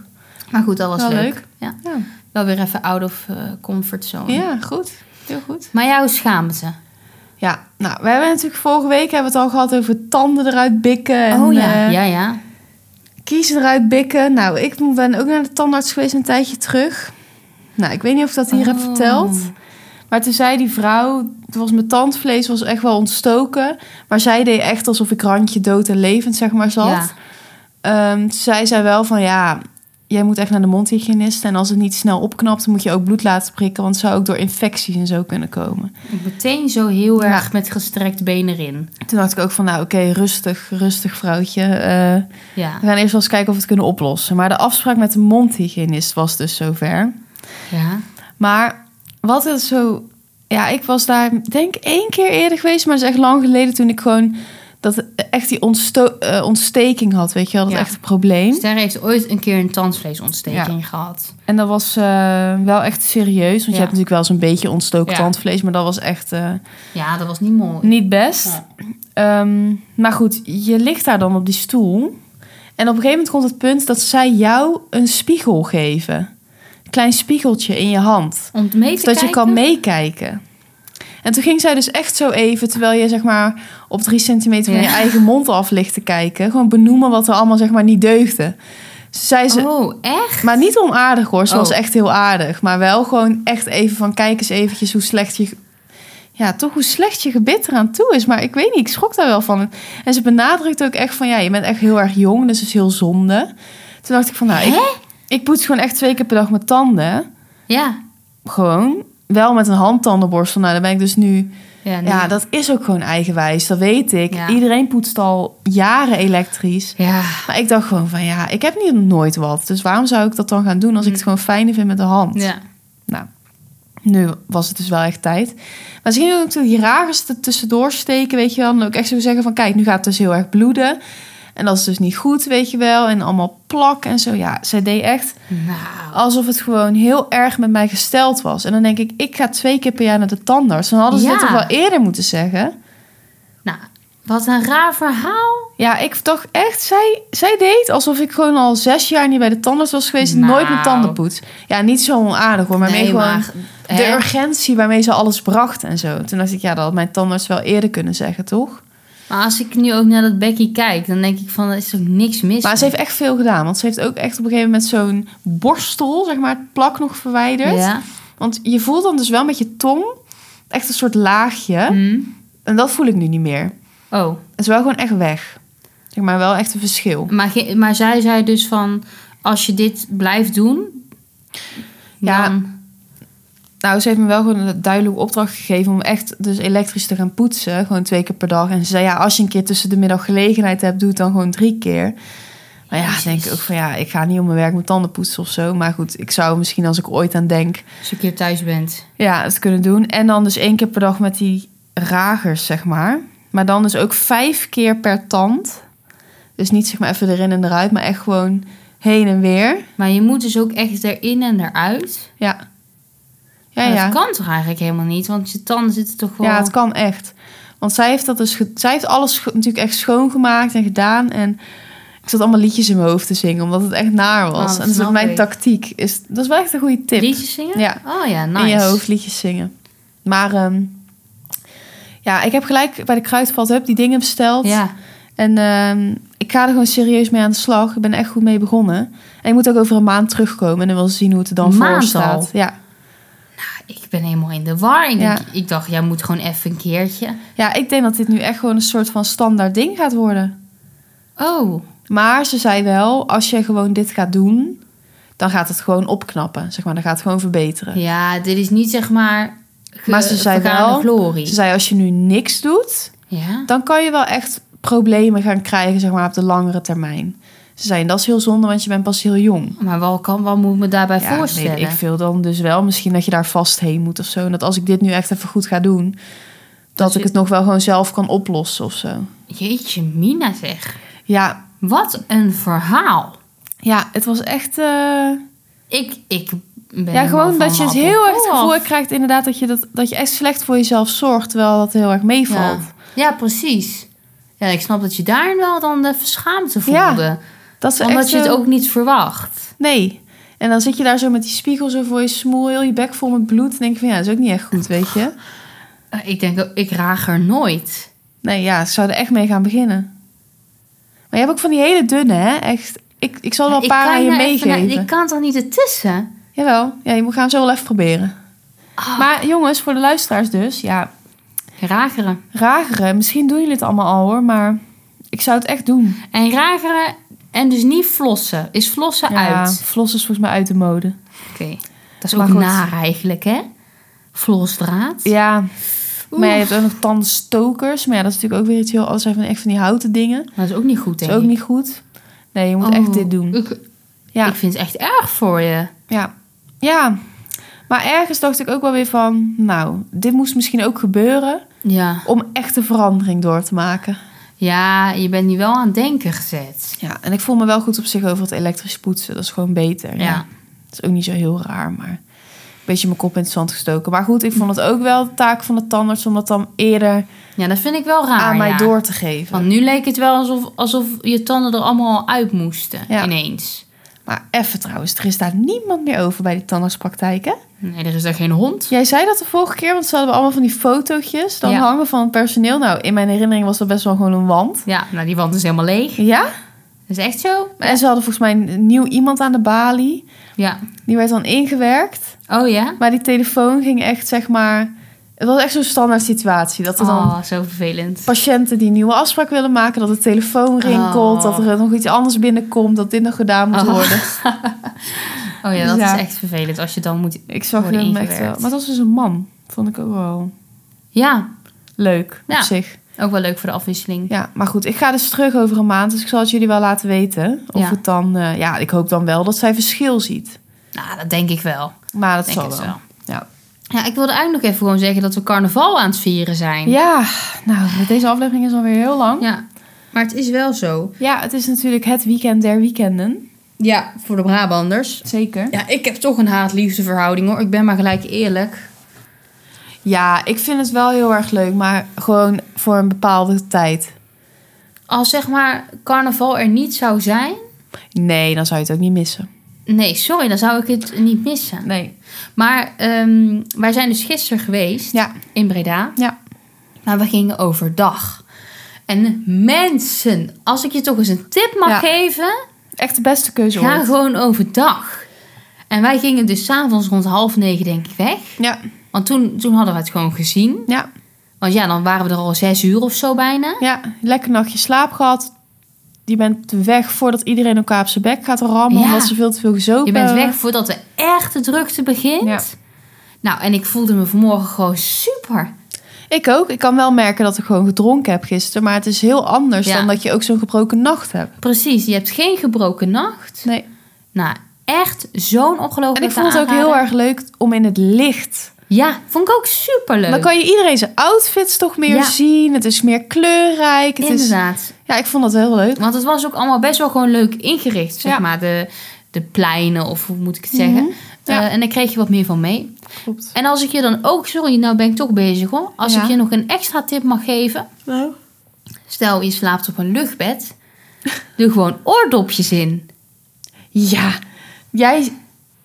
[SPEAKER 2] Maar goed, dat was
[SPEAKER 1] Wel
[SPEAKER 2] leuk.
[SPEAKER 1] leuk.
[SPEAKER 2] Ja.
[SPEAKER 1] Ja,
[SPEAKER 2] Wel weer even out of eh, comfort zone.
[SPEAKER 1] ja goed. Heel goed.
[SPEAKER 2] Maar jouw schaamte.
[SPEAKER 1] Ja, nou, we hebben natuurlijk vorige week hebben we het al gehad over tanden eruit bikken. En, eh,
[SPEAKER 2] Oh ja, ja.
[SPEAKER 1] Kiezen eruit bikken. Nou, ik ben ook naar de tandarts geweest een tijdje terug. Nou, ik weet niet of ik dat hier heb
[SPEAKER 2] Oh.
[SPEAKER 1] verteld. Maar toen zei die vrouw, het was mijn tandvlees was echt wel ontstoken. Maar zij deed echt alsof ik randje dood en levend, zeg maar, zat.
[SPEAKER 2] Ja.
[SPEAKER 1] Ehm, toen zei zij wel van ja, jij moet echt naar de mondhygiënist. En als het niet snel opknapt, dan moet je ook bloed laten prikken. Want het zou ook door infecties en zo kunnen komen.
[SPEAKER 2] Meteen zo heel
[SPEAKER 1] Ja.
[SPEAKER 2] erg met gestrekt been erin.
[SPEAKER 1] Toen dacht ik ook van nou oké, rustig, rustig vrouwtje. Eh,
[SPEAKER 2] Ja.
[SPEAKER 1] we gaan eerst wel eens kijken of we het kunnen oplossen. Maar de afspraak met de mondhygiënist was dus zover.
[SPEAKER 2] ja.
[SPEAKER 1] Maar wat het zo... Ja, ik was daar denk ik één keer eerder geweest. Maar dat is echt lang geleden toen ik gewoon... Dat echt die ontsto- eh, ontsteking had, weet je wel. Dat
[SPEAKER 2] Ja.
[SPEAKER 1] echt een probleem.
[SPEAKER 2] Ster heeft ooit een keer een tandvleesontsteking gehad.
[SPEAKER 1] En dat was eh, wel echt serieus. Want je hebt
[SPEAKER 2] Ja.
[SPEAKER 1] natuurlijk wel eens een beetje ontstoken
[SPEAKER 2] Ja.
[SPEAKER 1] tandvlees. Maar dat was echt eh,
[SPEAKER 2] Ja, dat was niet mooi.
[SPEAKER 1] niet best. Ehm, maar goed, je ligt daar dan op die stoel. En op een gegeven moment komt het punt dat zij jou een spiegel geven. Een klein spiegeltje in je hand.
[SPEAKER 2] Om mee te
[SPEAKER 1] dat je
[SPEAKER 2] kijken?
[SPEAKER 1] kan meekijken. En toen ging zij dus echt zo even, terwijl je zeg maar op drie centimeter van
[SPEAKER 2] Ja.
[SPEAKER 1] je eigen mond af ligt te kijken, gewoon benoemen wat er allemaal zeg maar niet deugde. Zij ze,
[SPEAKER 2] Oh, echt?
[SPEAKER 1] maar niet onaardig hoor, ze was
[SPEAKER 2] Oh.
[SPEAKER 1] echt heel aardig. Maar wel gewoon echt even van, kijk eens eventjes hoe slecht je... Ja, toch hoe slecht je gebit eraan toe is. Maar ik weet niet, ik schrok daar wel van. En ze benadrukt ook echt van, ja, je bent echt heel erg jong. Dus het is heel zonde. Toen dacht ik van, nou, ik, ik poets gewoon echt twee keer per dag mijn tanden.
[SPEAKER 2] Ja.
[SPEAKER 1] Gewoon. Wel met een handtandenborstel. Nou, dan ben ik dus nu...
[SPEAKER 2] Ja, nee.
[SPEAKER 1] Ja, dat is ook gewoon eigenwijs. Dat weet ik.
[SPEAKER 2] Ja.
[SPEAKER 1] Iedereen poetst al jaren elektrisch.
[SPEAKER 2] ja.
[SPEAKER 1] Maar ik dacht gewoon van ja, ik heb niet nooit wat. Dus waarom zou ik dat dan gaan doen als ik het gewoon fijner vind met de hand?
[SPEAKER 2] Mm. Ja.
[SPEAKER 1] Nou, nu was het dus wel echt tijd. Maar ze gingen ook die ragers er tussendoor steken, weet je wel. En ook echt zo zeggen van kijk, nu gaat het dus heel erg bloeden. En dat is dus niet goed, weet je wel. En allemaal plak en zo. Ja, zij deed echt
[SPEAKER 2] Nou.
[SPEAKER 1] alsof het gewoon heel erg met mij gesteld was. En dan denk ik, ik ga twee keer per jaar naar de tandarts. Dan hadden ze
[SPEAKER 2] Ja.
[SPEAKER 1] dit toch wel eerder moeten zeggen.
[SPEAKER 2] nou, wat een raar verhaal.
[SPEAKER 1] Ja, ik toch echt. Zij, zij deed alsof ik gewoon al zes jaar niet bij de tandarts was geweest. en
[SPEAKER 2] Nou.
[SPEAKER 1] Nooit mijn tanden poets. Ja, niet zo onaardig hoor. Maar meer gewoon
[SPEAKER 2] hè?
[SPEAKER 1] de urgentie waarmee ze alles bracht en zo. Toen dacht ik, ja, dat had mijn tandarts wel eerder kunnen zeggen, toch?
[SPEAKER 2] Maar als ik nu ook naar dat Becky kijk, dan denk ik van, er is ook niks mis.
[SPEAKER 1] Maar ze heeft echt veel gedaan. Want ze heeft ook echt op een gegeven moment zo'n borstel, zeg maar, het plak nog verwijderd.
[SPEAKER 2] Ja.
[SPEAKER 1] Want je voelt dan dus wel met je tong echt een soort laagje.
[SPEAKER 2] Hm.
[SPEAKER 1] En dat voel ik nu niet meer.
[SPEAKER 2] Oh,
[SPEAKER 1] Het is wel gewoon echt weg. Zeg maar, wel echt een verschil.
[SPEAKER 2] maar, ge- maar zij zei dus van, als je dit blijft doen,
[SPEAKER 1] Ja.
[SPEAKER 2] dan...
[SPEAKER 1] Nou, ze heeft me wel gewoon een duidelijke opdracht gegeven om echt dus elektrisch te gaan poetsen. Gewoon twee keer per dag. En ze zei, ja, als je een keer tussen de middag gelegenheid hebt, doe het dan gewoon drie keer. Maar ja,
[SPEAKER 2] Oh, Jezus.
[SPEAKER 1] denk ik ook van ja, ik ga niet om mijn werk mijn tanden poetsen of zo. Maar goed, ik zou misschien als ik ooit aan denk,
[SPEAKER 2] als je een keer thuis bent.
[SPEAKER 1] ja, het kunnen doen. En dan dus één keer per dag met die ragers, zeg maar. Maar dan dus ook vijf keer per tand. Dus niet zeg maar even erin en eruit, maar echt gewoon heen en weer.
[SPEAKER 2] Maar je moet dus ook echt erin en eruit.
[SPEAKER 1] Ja. Ja,
[SPEAKER 2] Maar
[SPEAKER 1] ja.
[SPEAKER 2] Oh, Dat kan toch eigenlijk helemaal niet, want je tanden zitten toch wel...
[SPEAKER 1] Ja, het kan echt. Want zij heeft, dat dus ge- zij heeft alles ge- natuurlijk echt schoongemaakt en gedaan. En ik zat allemaal liedjes in mijn hoofd te zingen, omdat het echt naar was.
[SPEAKER 2] Oh, dat
[SPEAKER 1] en dat is
[SPEAKER 2] snap
[SPEAKER 1] ook mijn
[SPEAKER 2] ik.
[SPEAKER 1] tactiek. Is, dat is wel echt een goede tip.
[SPEAKER 2] Liedjes zingen?
[SPEAKER 1] Ja.
[SPEAKER 2] Oh ja, nice.
[SPEAKER 1] In je hoofd liedjes zingen. Maar ehm, ja, ik heb gelijk bij de Kruidvat Hub die dingen besteld.
[SPEAKER 2] Ja.
[SPEAKER 1] En ehm, ik ga er gewoon serieus mee aan de slag. Ik ben er echt goed mee begonnen. En ik moet ook over een maand terugkomen en dan wil ze zien hoe het er dan
[SPEAKER 2] Een
[SPEAKER 1] voor
[SPEAKER 2] maand
[SPEAKER 1] staat.
[SPEAKER 2] al?
[SPEAKER 1] Ja.
[SPEAKER 2] Nou, Ik ben helemaal in de war. En
[SPEAKER 1] Ja.
[SPEAKER 2] ik, ik dacht, jij moet gewoon even een keertje.
[SPEAKER 1] ja, ik denk dat dit nu echt gewoon een soort van standaard ding gaat worden.
[SPEAKER 2] Oh,
[SPEAKER 1] Maar ze zei wel, als je gewoon dit gaat doen, dan gaat het gewoon opknappen. Zeg maar, dan gaat het gewoon verbeteren.
[SPEAKER 2] ja, dit is niet zeg maar... ge-
[SPEAKER 1] Maar ze zei
[SPEAKER 2] vergane
[SPEAKER 1] wel-
[SPEAKER 2] glorie.
[SPEAKER 1] Ze zei, als je nu niks doet,
[SPEAKER 2] Ja.
[SPEAKER 1] dan kan je wel echt problemen gaan krijgen, zeg maar, op de langere termijn. Ze zei, en dat is heel zonde, want je bent pas heel jong.
[SPEAKER 2] Maar wat, kan, wat moet ik me daarbij
[SPEAKER 1] Ja,
[SPEAKER 2] voorstellen?
[SPEAKER 1] Weet ik veel dan dus wel. Misschien dat je daar vast heen moet of zo. En dat als ik dit nu echt even goed ga doen, dat,
[SPEAKER 2] Dat
[SPEAKER 1] ik
[SPEAKER 2] je-
[SPEAKER 1] het nog wel gewoon zelf kan oplossen of zo.
[SPEAKER 2] Jeetje, Mina zeg.
[SPEAKER 1] Ja,
[SPEAKER 2] Wat een verhaal.
[SPEAKER 1] Ja, het was echt... eh,
[SPEAKER 2] Ik, ik ben
[SPEAKER 1] ja, gewoon
[SPEAKER 2] helemaal
[SPEAKER 1] dat je
[SPEAKER 2] van
[SPEAKER 1] het
[SPEAKER 2] mijn
[SPEAKER 1] heel erg het
[SPEAKER 2] appel
[SPEAKER 1] gevoel
[SPEAKER 2] af.
[SPEAKER 1] krijgt inderdaad dat je, dat, dat je echt slecht voor jezelf zorgt. Terwijl dat heel erg meevalt.
[SPEAKER 2] Ja. ja, precies. Ja, ik snap dat je daar wel dan de verschaamte
[SPEAKER 1] Ja,
[SPEAKER 2] voelde.
[SPEAKER 1] Dat is
[SPEAKER 2] omdat
[SPEAKER 1] echt
[SPEAKER 2] je het
[SPEAKER 1] zo-
[SPEAKER 2] ook niet verwacht.
[SPEAKER 1] Nee. En dan zit je daar zo met die spiegel zo voor je smoel, heel je bek vol met bloed. En denk je van, ja, dat is ook niet echt goed, weet je.
[SPEAKER 2] Eh, Ik denk, ook, ik raag er nooit.
[SPEAKER 1] Nee, ja, ik zou er echt mee gaan beginnen. Maar je hebt ook van die hele dunne, hè? Echt. Ik, ik zal er wel een
[SPEAKER 2] Ik
[SPEAKER 1] paar
[SPEAKER 2] kan
[SPEAKER 1] aan je
[SPEAKER 2] er even naar-
[SPEAKER 1] meegeven.
[SPEAKER 2] Ik kan toch niet ertussen?
[SPEAKER 1] Jawel, ja, je moet gaan zo wel even proberen.
[SPEAKER 2] Ah.
[SPEAKER 1] Maar jongens, voor de luisteraars dus, ja,
[SPEAKER 2] Rageren.
[SPEAKER 1] rageren. Misschien doen jullie het allemaal al hoor, maar ik zou het echt doen.
[SPEAKER 2] En rageren en dus niet flossen. Is flossen uit?
[SPEAKER 1] Vlos is volgens mij uit de mode.
[SPEAKER 2] Oké. Dat is
[SPEAKER 1] Maar
[SPEAKER 2] ook
[SPEAKER 1] goed.
[SPEAKER 2] naar eigenlijk, hè? Flosdraad.
[SPEAKER 1] Ja, maar ja, je hebt ook nog tandenstokers. Maar ja, dat is natuurlijk ook weer iets heel anders. Zijn van echt van die houten dingen.
[SPEAKER 2] Dat is ook niet goed,
[SPEAKER 1] Dat
[SPEAKER 2] denk
[SPEAKER 1] is ook
[SPEAKER 2] ik.
[SPEAKER 1] niet goed. Nee, je moet
[SPEAKER 2] Oh,
[SPEAKER 1] echt dit doen.
[SPEAKER 2] Ik,
[SPEAKER 1] Ja.
[SPEAKER 2] ik vind het echt erg voor je.
[SPEAKER 1] Ja. ja, maar ergens dacht ik ook wel weer van... Nou, dit moest misschien ook gebeuren...
[SPEAKER 2] Ja.
[SPEAKER 1] om echt een verandering door te maken.
[SPEAKER 2] Ja, je bent nu wel aan het denken gezet.
[SPEAKER 1] Ja, en ik voel me wel goed op zich over het elektrisch poetsen. Dat is gewoon beter.
[SPEAKER 2] Ja.
[SPEAKER 1] Het is ook niet zo heel raar, maar... een beetje mijn kop in het zand gestoken. Maar goed, ik vond het ook wel de taak van de tandarts... om dat dan eerder
[SPEAKER 2] Ja, dat vind ik wel raar.
[SPEAKER 1] aan mij
[SPEAKER 2] Ah, ja.
[SPEAKER 1] door te geven.
[SPEAKER 2] Want nu leek het wel alsof, alsof je tanden er allemaal uit moesten.
[SPEAKER 1] Ja.
[SPEAKER 2] Ineens.
[SPEAKER 1] Maar even trouwens, er is daar niemand meer over bij die tandartspraktijk, hè?
[SPEAKER 2] Nee, er is daar geen hond.
[SPEAKER 1] Jij zei dat de vorige keer, want ze hadden allemaal van die fotootjes dan
[SPEAKER 2] Ja.
[SPEAKER 1] hangen van het personeel. Nou, in mijn herinnering was dat best wel gewoon een wand.
[SPEAKER 2] Ja, nou die wand is helemaal leeg.
[SPEAKER 1] Ja?
[SPEAKER 2] Dat is echt zo?
[SPEAKER 1] En ze hadden volgens mij een nieuw iemand aan de balie.
[SPEAKER 2] Ja.
[SPEAKER 1] Die werd dan ingewerkt.
[SPEAKER 2] Oh ja?
[SPEAKER 1] Maar die telefoon ging echt, zeg maar... Het was echt zo'n standaard situatie. Dat er dan
[SPEAKER 2] Oh, zo vervelend.
[SPEAKER 1] patiënten die een nieuwe afspraak willen maken... dat de telefoon rinkelt,
[SPEAKER 2] Oh.
[SPEAKER 1] dat er nog iets anders binnenkomt... dat dit nog gedaan moet
[SPEAKER 2] Oh.
[SPEAKER 1] worden.
[SPEAKER 2] Oh ja,
[SPEAKER 1] Dus
[SPEAKER 2] dat
[SPEAKER 1] ja.
[SPEAKER 2] is echt vervelend als je dan moet...
[SPEAKER 1] Ik zag
[SPEAKER 2] Worden
[SPEAKER 1] hem echt wel.
[SPEAKER 2] ingewerkt.
[SPEAKER 1] Maar dat was dus een man. Vond ik ook wel
[SPEAKER 2] Ja,
[SPEAKER 1] leuk
[SPEAKER 2] Ja.
[SPEAKER 1] op zich.
[SPEAKER 2] ook wel leuk voor de afwisseling.
[SPEAKER 1] Ja, maar goed, ik ga dus terug over een maand. Dus ik zal het jullie wel laten weten. Of
[SPEAKER 2] Ja.
[SPEAKER 1] het dan, eh, ja, ik hoop dan wel dat zij verschil ziet.
[SPEAKER 2] Nou, dat denk ik wel.
[SPEAKER 1] Maar dat
[SPEAKER 2] Denk
[SPEAKER 1] zal
[SPEAKER 2] het
[SPEAKER 1] wel.
[SPEAKER 2] wel.
[SPEAKER 1] Ja.
[SPEAKER 2] Ja, ik wilde eigenlijk nog even gewoon zeggen dat we carnaval aan het vieren zijn.
[SPEAKER 1] ja, nou, met deze aflevering is alweer heel lang. Ja.
[SPEAKER 2] Ja, maar het is wel zo.
[SPEAKER 1] het is natuurlijk het weekend der weekenden.
[SPEAKER 2] Ja, voor de Brabanders.
[SPEAKER 1] Zeker. Ja.
[SPEAKER 2] Ja, ik heb toch een haat-liefde verhouding hoor. Ik ben maar gelijk eerlijk.
[SPEAKER 1] ik vind het wel heel erg leuk, maar gewoon voor een bepaalde tijd.
[SPEAKER 2] Als zeg maar carnaval er niet zou zijn.
[SPEAKER 1] Nee, dan zou je het ook niet missen.
[SPEAKER 2] Nee, sorry, dan zou ik het niet missen.
[SPEAKER 1] Nee.
[SPEAKER 2] Maar ehm, wij zijn dus gisteren geweest
[SPEAKER 1] Ja,
[SPEAKER 2] in Breda.
[SPEAKER 1] ja.
[SPEAKER 2] Maar we gingen overdag. En mensen, als ik je toch eens een tip mag
[SPEAKER 1] Ja.
[SPEAKER 2] geven.
[SPEAKER 1] Echt de beste keuze
[SPEAKER 2] Ga
[SPEAKER 1] ooit.
[SPEAKER 2] gewoon overdag. En wij gingen dus s'avonds rond half negen denk ik weg.
[SPEAKER 1] Ja,
[SPEAKER 2] Want toen, toen hadden we het gewoon gezien.
[SPEAKER 1] ja,
[SPEAKER 2] Want ja, dan waren we er al zes uur of zo bijna.
[SPEAKER 1] ja. Lekker nachtje slaap gehad. Je bent weg voordat iedereen elkaar op zijn bek gaat rammen.
[SPEAKER 2] Ja.
[SPEAKER 1] Omdat ze veel te veel gezopen
[SPEAKER 2] Je bent
[SPEAKER 1] hebben.
[SPEAKER 2] weg voordat de echte drukte begint.
[SPEAKER 1] Ja.
[SPEAKER 2] Nou, en ik voelde me vanmorgen gewoon super.
[SPEAKER 1] Ik ook. Ik kan wel merken dat ik gewoon gedronken heb gisteren. Maar het is heel anders
[SPEAKER 2] Ja.
[SPEAKER 1] dan dat je ook zo'n gebroken nacht hebt.
[SPEAKER 2] Precies, je hebt geen gebroken nacht.
[SPEAKER 1] Nee.
[SPEAKER 2] Nou, echt zo'n ongelooflijk
[SPEAKER 1] En ik vond het ook heel erg leuk om in het licht.
[SPEAKER 2] Ja, vond ik ook super leuk.
[SPEAKER 1] Dan kan je iedereen zijn outfits toch meer
[SPEAKER 2] Ja.
[SPEAKER 1] zien. Het is meer kleurrijk. Het is...
[SPEAKER 2] Inderdaad.
[SPEAKER 1] Ja, ik vond dat heel leuk.
[SPEAKER 2] Want het was ook allemaal best wel gewoon leuk ingericht, zeg
[SPEAKER 1] Ja.
[SPEAKER 2] maar. De, de pleinen, of hoe moet ik het zeggen.
[SPEAKER 1] Mhm, ja.
[SPEAKER 2] Eh, en daar kreeg je wat meer van mee.
[SPEAKER 1] Klopt.
[SPEAKER 2] En als ik je dan ook, sorry, nou ben ik toch bezig hoor. Als
[SPEAKER 1] Ja.
[SPEAKER 2] ik je nog een extra tip mag geven.
[SPEAKER 1] Nou.
[SPEAKER 2] Stel, je slaapt op een luchtbed. Doe gewoon oordopjes in.
[SPEAKER 1] Ja. Jij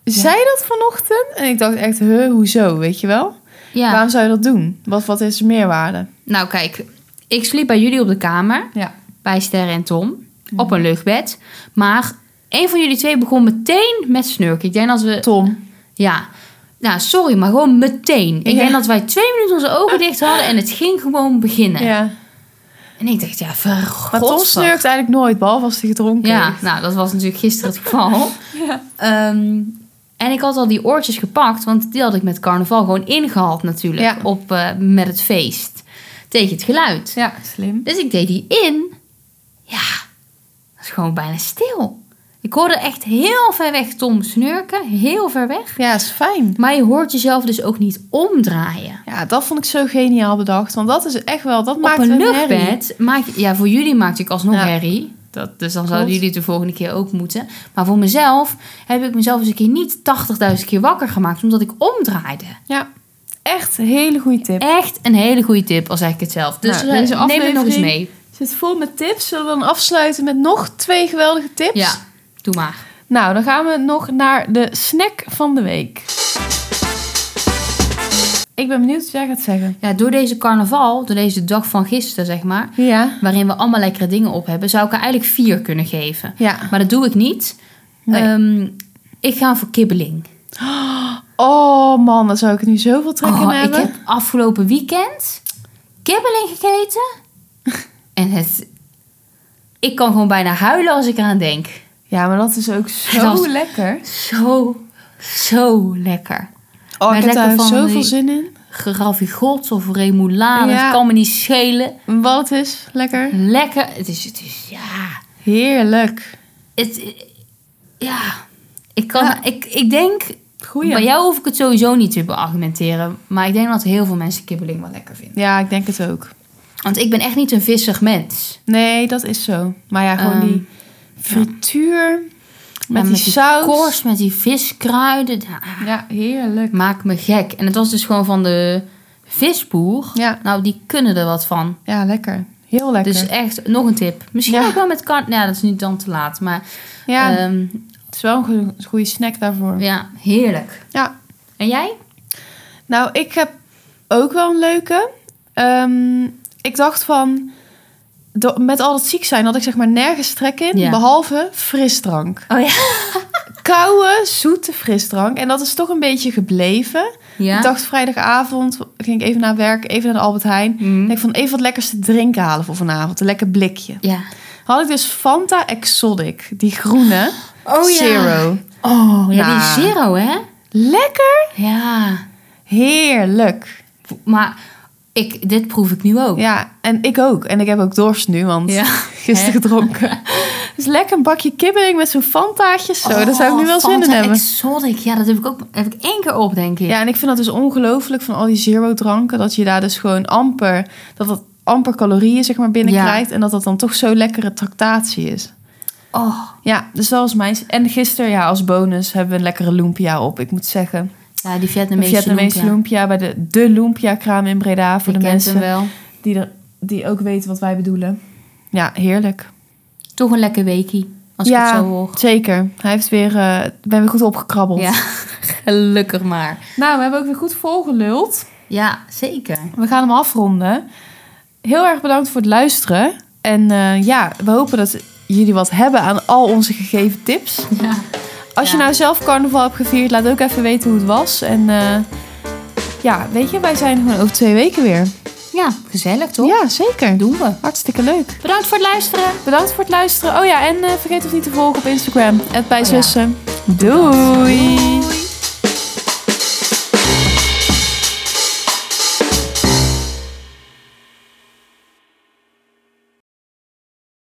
[SPEAKER 1] zei dat vanochtend. En ik dacht echt, huh, hoezo, weet je wel?
[SPEAKER 2] Ja.
[SPEAKER 1] Waarom zou je dat doen? Wat, wat is de meerwaarde?
[SPEAKER 2] Nou kijk, ik sliep bij jullie op de kamer.
[SPEAKER 1] Ja.
[SPEAKER 2] Bij Sterre en Tom.
[SPEAKER 1] Mhm.
[SPEAKER 2] Op een luchtbed. Maar een van jullie twee begon meteen met snurken. Ik denk dat we...
[SPEAKER 1] Tom.
[SPEAKER 2] Ja. Nou, sorry, maar gewoon meteen. Ik
[SPEAKER 1] Ja. Ah.
[SPEAKER 2] denk dat wij twee minuten onze ogen dicht hadden en het ging gewoon beginnen.
[SPEAKER 1] Ja.
[SPEAKER 2] En ik dacht, ja, verrot.
[SPEAKER 1] Maar Tom snurkt eigenlijk nooit, behalve als hij gedronken
[SPEAKER 2] Ja,
[SPEAKER 1] heeft.
[SPEAKER 2] nou, dat was natuurlijk gisteren het geval.
[SPEAKER 1] Ja.
[SPEAKER 2] Ehm, en ik had al die oortjes gepakt, want die had ik met carnaval gewoon ingehaald natuurlijk.
[SPEAKER 1] Ja.
[SPEAKER 2] Op, eh, met het feest. Tegen het geluid.
[SPEAKER 1] Ja, slim.
[SPEAKER 2] Dus ik deed die in. Ja, dat is gewoon bijna stil. Ik hoorde echt heel ver weg Tom snurken. Heel ver weg.
[SPEAKER 1] Ja, is fijn.
[SPEAKER 2] Maar je hoort jezelf dus ook niet omdraaien.
[SPEAKER 1] Ja, dat vond ik zo geniaal bedacht. Want dat is echt wel, dat
[SPEAKER 2] op
[SPEAKER 1] maakt
[SPEAKER 2] een
[SPEAKER 1] herrie.
[SPEAKER 2] luchtbed maak je- ja, voor jullie maakt ik alsnog
[SPEAKER 1] Ja.
[SPEAKER 2] herrie. Dat, dus dan
[SPEAKER 1] Klopt.
[SPEAKER 2] zouden jullie het de volgende keer ook moeten. Maar voor mezelf heb ik mezelf eens een keer niet 80.000 keer wakker gemaakt, omdat ik omdraaide.
[SPEAKER 1] Ja, echt een hele goede tip.
[SPEAKER 2] Echt een hele goede tip, al zeg ik het zelf. Dus
[SPEAKER 1] Nou,
[SPEAKER 2] eh,
[SPEAKER 1] deze
[SPEAKER 2] neem het nog eens
[SPEAKER 1] aflevering-
[SPEAKER 2] mee.
[SPEAKER 1] Zit vol met tips. Zullen we dan afsluiten met nog twee geweldige tips?
[SPEAKER 2] Ja, doe maar.
[SPEAKER 1] Nou, dan gaan we nog naar de snack van de week. Ik ben benieuwd wat jij gaat zeggen.
[SPEAKER 2] Ja, door deze carnaval, door deze dag van gisteren, zeg maar,
[SPEAKER 1] Ja.
[SPEAKER 2] waarin we allemaal lekkere dingen op hebben, zou ik er eigenlijk vier kunnen geven.
[SPEAKER 1] Ja.
[SPEAKER 2] Maar dat doe ik niet.
[SPEAKER 1] Nee.
[SPEAKER 2] Ehm, ik ga voor kibbeling.
[SPEAKER 1] Oh man, dan zou ik er nu zoveel trek in
[SPEAKER 2] Oh, ik
[SPEAKER 1] hebben.
[SPEAKER 2] heb afgelopen weekend kibbeling gegeten. en het... Ik kan gewoon bijna huilen als ik eraan denk.
[SPEAKER 1] Ja, maar dat is ook zo
[SPEAKER 2] Dat is-
[SPEAKER 1] lekker.
[SPEAKER 2] Zo, zo lekker.
[SPEAKER 1] Oh,
[SPEAKER 2] Maar
[SPEAKER 1] ik heb
[SPEAKER 2] lekker
[SPEAKER 1] daar
[SPEAKER 2] van
[SPEAKER 1] zoveel
[SPEAKER 2] die-
[SPEAKER 1] zin in.
[SPEAKER 2] Geravigot of remoulade,
[SPEAKER 1] Ja.
[SPEAKER 2] het kan me niet schelen.
[SPEAKER 1] Wat het is, lekker.
[SPEAKER 2] Lekker, het is, het is ja...
[SPEAKER 1] Heerlijk.
[SPEAKER 2] Het, ja, ik kan...
[SPEAKER 1] Ja.
[SPEAKER 2] Ik, ik denk...
[SPEAKER 1] Goeie.
[SPEAKER 2] Bij jou hoef ik het sowieso niet te beargumenteren. Maar ik denk dat heel veel mensen kibbeling wel lekker vinden.
[SPEAKER 1] Ja, ik denk het ook.
[SPEAKER 2] Want ik ben echt niet een vissig mens.
[SPEAKER 1] Nee, dat is zo. Maar ja, gewoon
[SPEAKER 2] Ehm,
[SPEAKER 1] die frituur met
[SPEAKER 2] Ja,
[SPEAKER 1] die saus.
[SPEAKER 2] korst, met die viskruiden. Ja,
[SPEAKER 1] Ja, heerlijk.
[SPEAKER 2] maakt me gek. En het was dus gewoon van de visboer.
[SPEAKER 1] Ja,
[SPEAKER 2] Nou, die kunnen er wat van.
[SPEAKER 1] ja lekker. Heel lekker.
[SPEAKER 2] Dus echt, nog een tip. Misschien
[SPEAKER 1] Ja.
[SPEAKER 2] ook wel met kant. Ja, dat is nu dan te laat. Maar
[SPEAKER 1] ja,
[SPEAKER 2] ehm,
[SPEAKER 1] het is wel een goe- goede snack daarvoor. eh, Ja.
[SPEAKER 2] ja, heerlijk. En jij?
[SPEAKER 1] Nou, ik heb ook wel een leuke. Ehm, ik dacht van... do- met al dat ziek zijn had ik zeg maar nergens trek in.
[SPEAKER 2] Ja.
[SPEAKER 1] Behalve frisdrank.
[SPEAKER 2] Oh ja.
[SPEAKER 1] Koude, zoete frisdrank. En dat is toch een beetje gebleven.
[SPEAKER 2] Ja.
[SPEAKER 1] Ik dacht vrijdagavond, ging ik even naar werk, even naar de Albert Heijn. Ik
[SPEAKER 2] Mm.
[SPEAKER 1] denk van even wat lekkers te drinken halen voor vanavond. Een lekker blikje.
[SPEAKER 2] Ja.
[SPEAKER 1] Had ik dus Fanta Exotic. Die groene. Zero.
[SPEAKER 2] Oh, ja,
[SPEAKER 1] Nou.
[SPEAKER 2] die zero, hè?
[SPEAKER 1] Lekker.
[SPEAKER 2] Ja.
[SPEAKER 1] Heerlijk.
[SPEAKER 2] Maar ik, dit proef ik nu ook.
[SPEAKER 1] Ja, en ik ook. En ik heb ook dorst nu, want
[SPEAKER 2] Ja.
[SPEAKER 1] gisteren gedronken. Dus lekker een bakje kibbeling met zo'n Fantaatje. Zo, daar zou ik nu wel zin in
[SPEAKER 2] Oh, Fanta
[SPEAKER 1] hebben.
[SPEAKER 2] Exotic. Ja, dat heb ik ook heb ik één keer op, denk ik.
[SPEAKER 1] Ja, en ik vind dat dus ongelooflijk van al die zero dranken. Dat je daar dus gewoon amper, dat dat amper calorieën zeg maar binnenkrijgt. En dat dat dan toch zo lekkere tractatie is.
[SPEAKER 2] Oh.
[SPEAKER 1] Ja, dus dat was mijn... En gisteren, ja, als bonus hebben we een lekkere lumpia op. Ik moet zeggen,
[SPEAKER 2] Ja, die
[SPEAKER 1] Een
[SPEAKER 2] Vietnamese
[SPEAKER 1] Vietnamese
[SPEAKER 2] lumpia.
[SPEAKER 1] lumpia bij de, de lumpia kraam in Breda. Voor
[SPEAKER 2] Je
[SPEAKER 1] de
[SPEAKER 2] kent
[SPEAKER 1] mensen
[SPEAKER 2] hem wel.
[SPEAKER 1] die, er, die ook weten wat wij bedoelen. Ja, heerlijk.
[SPEAKER 2] Toch een lekker weekie, als
[SPEAKER 1] ja,
[SPEAKER 2] ik het zo hoor.
[SPEAKER 1] zeker. Hij heeft weer, eh ben weer goed opgekrabbeld.
[SPEAKER 2] Ja, gelukkig maar.
[SPEAKER 1] Nou, we hebben ook weer goed volgeluld.
[SPEAKER 2] Ja, zeker.
[SPEAKER 1] We gaan hem afronden. Heel erg bedankt voor het luisteren. En eh, ja, we hopen dat jullie wat hebben aan al onze gegeven tips.
[SPEAKER 2] Ja.
[SPEAKER 1] Als je
[SPEAKER 2] Ja.
[SPEAKER 1] nou zelf carnaval hebt gevierd, laat ook even weten hoe het was. En eh, ja, weet je, wij zijn er gewoon over twee weken weer.
[SPEAKER 2] ja, gezellig toch?
[SPEAKER 1] Ja, zeker.
[SPEAKER 2] Doen we.
[SPEAKER 1] Hartstikke leuk.
[SPEAKER 2] Bedankt voor het luisteren.
[SPEAKER 1] Bedankt voor het luisteren. Oh ja, en eh, vergeet ons niet te volgen op Instagram. Het bij
[SPEAKER 2] ja.
[SPEAKER 1] zussen. Doei.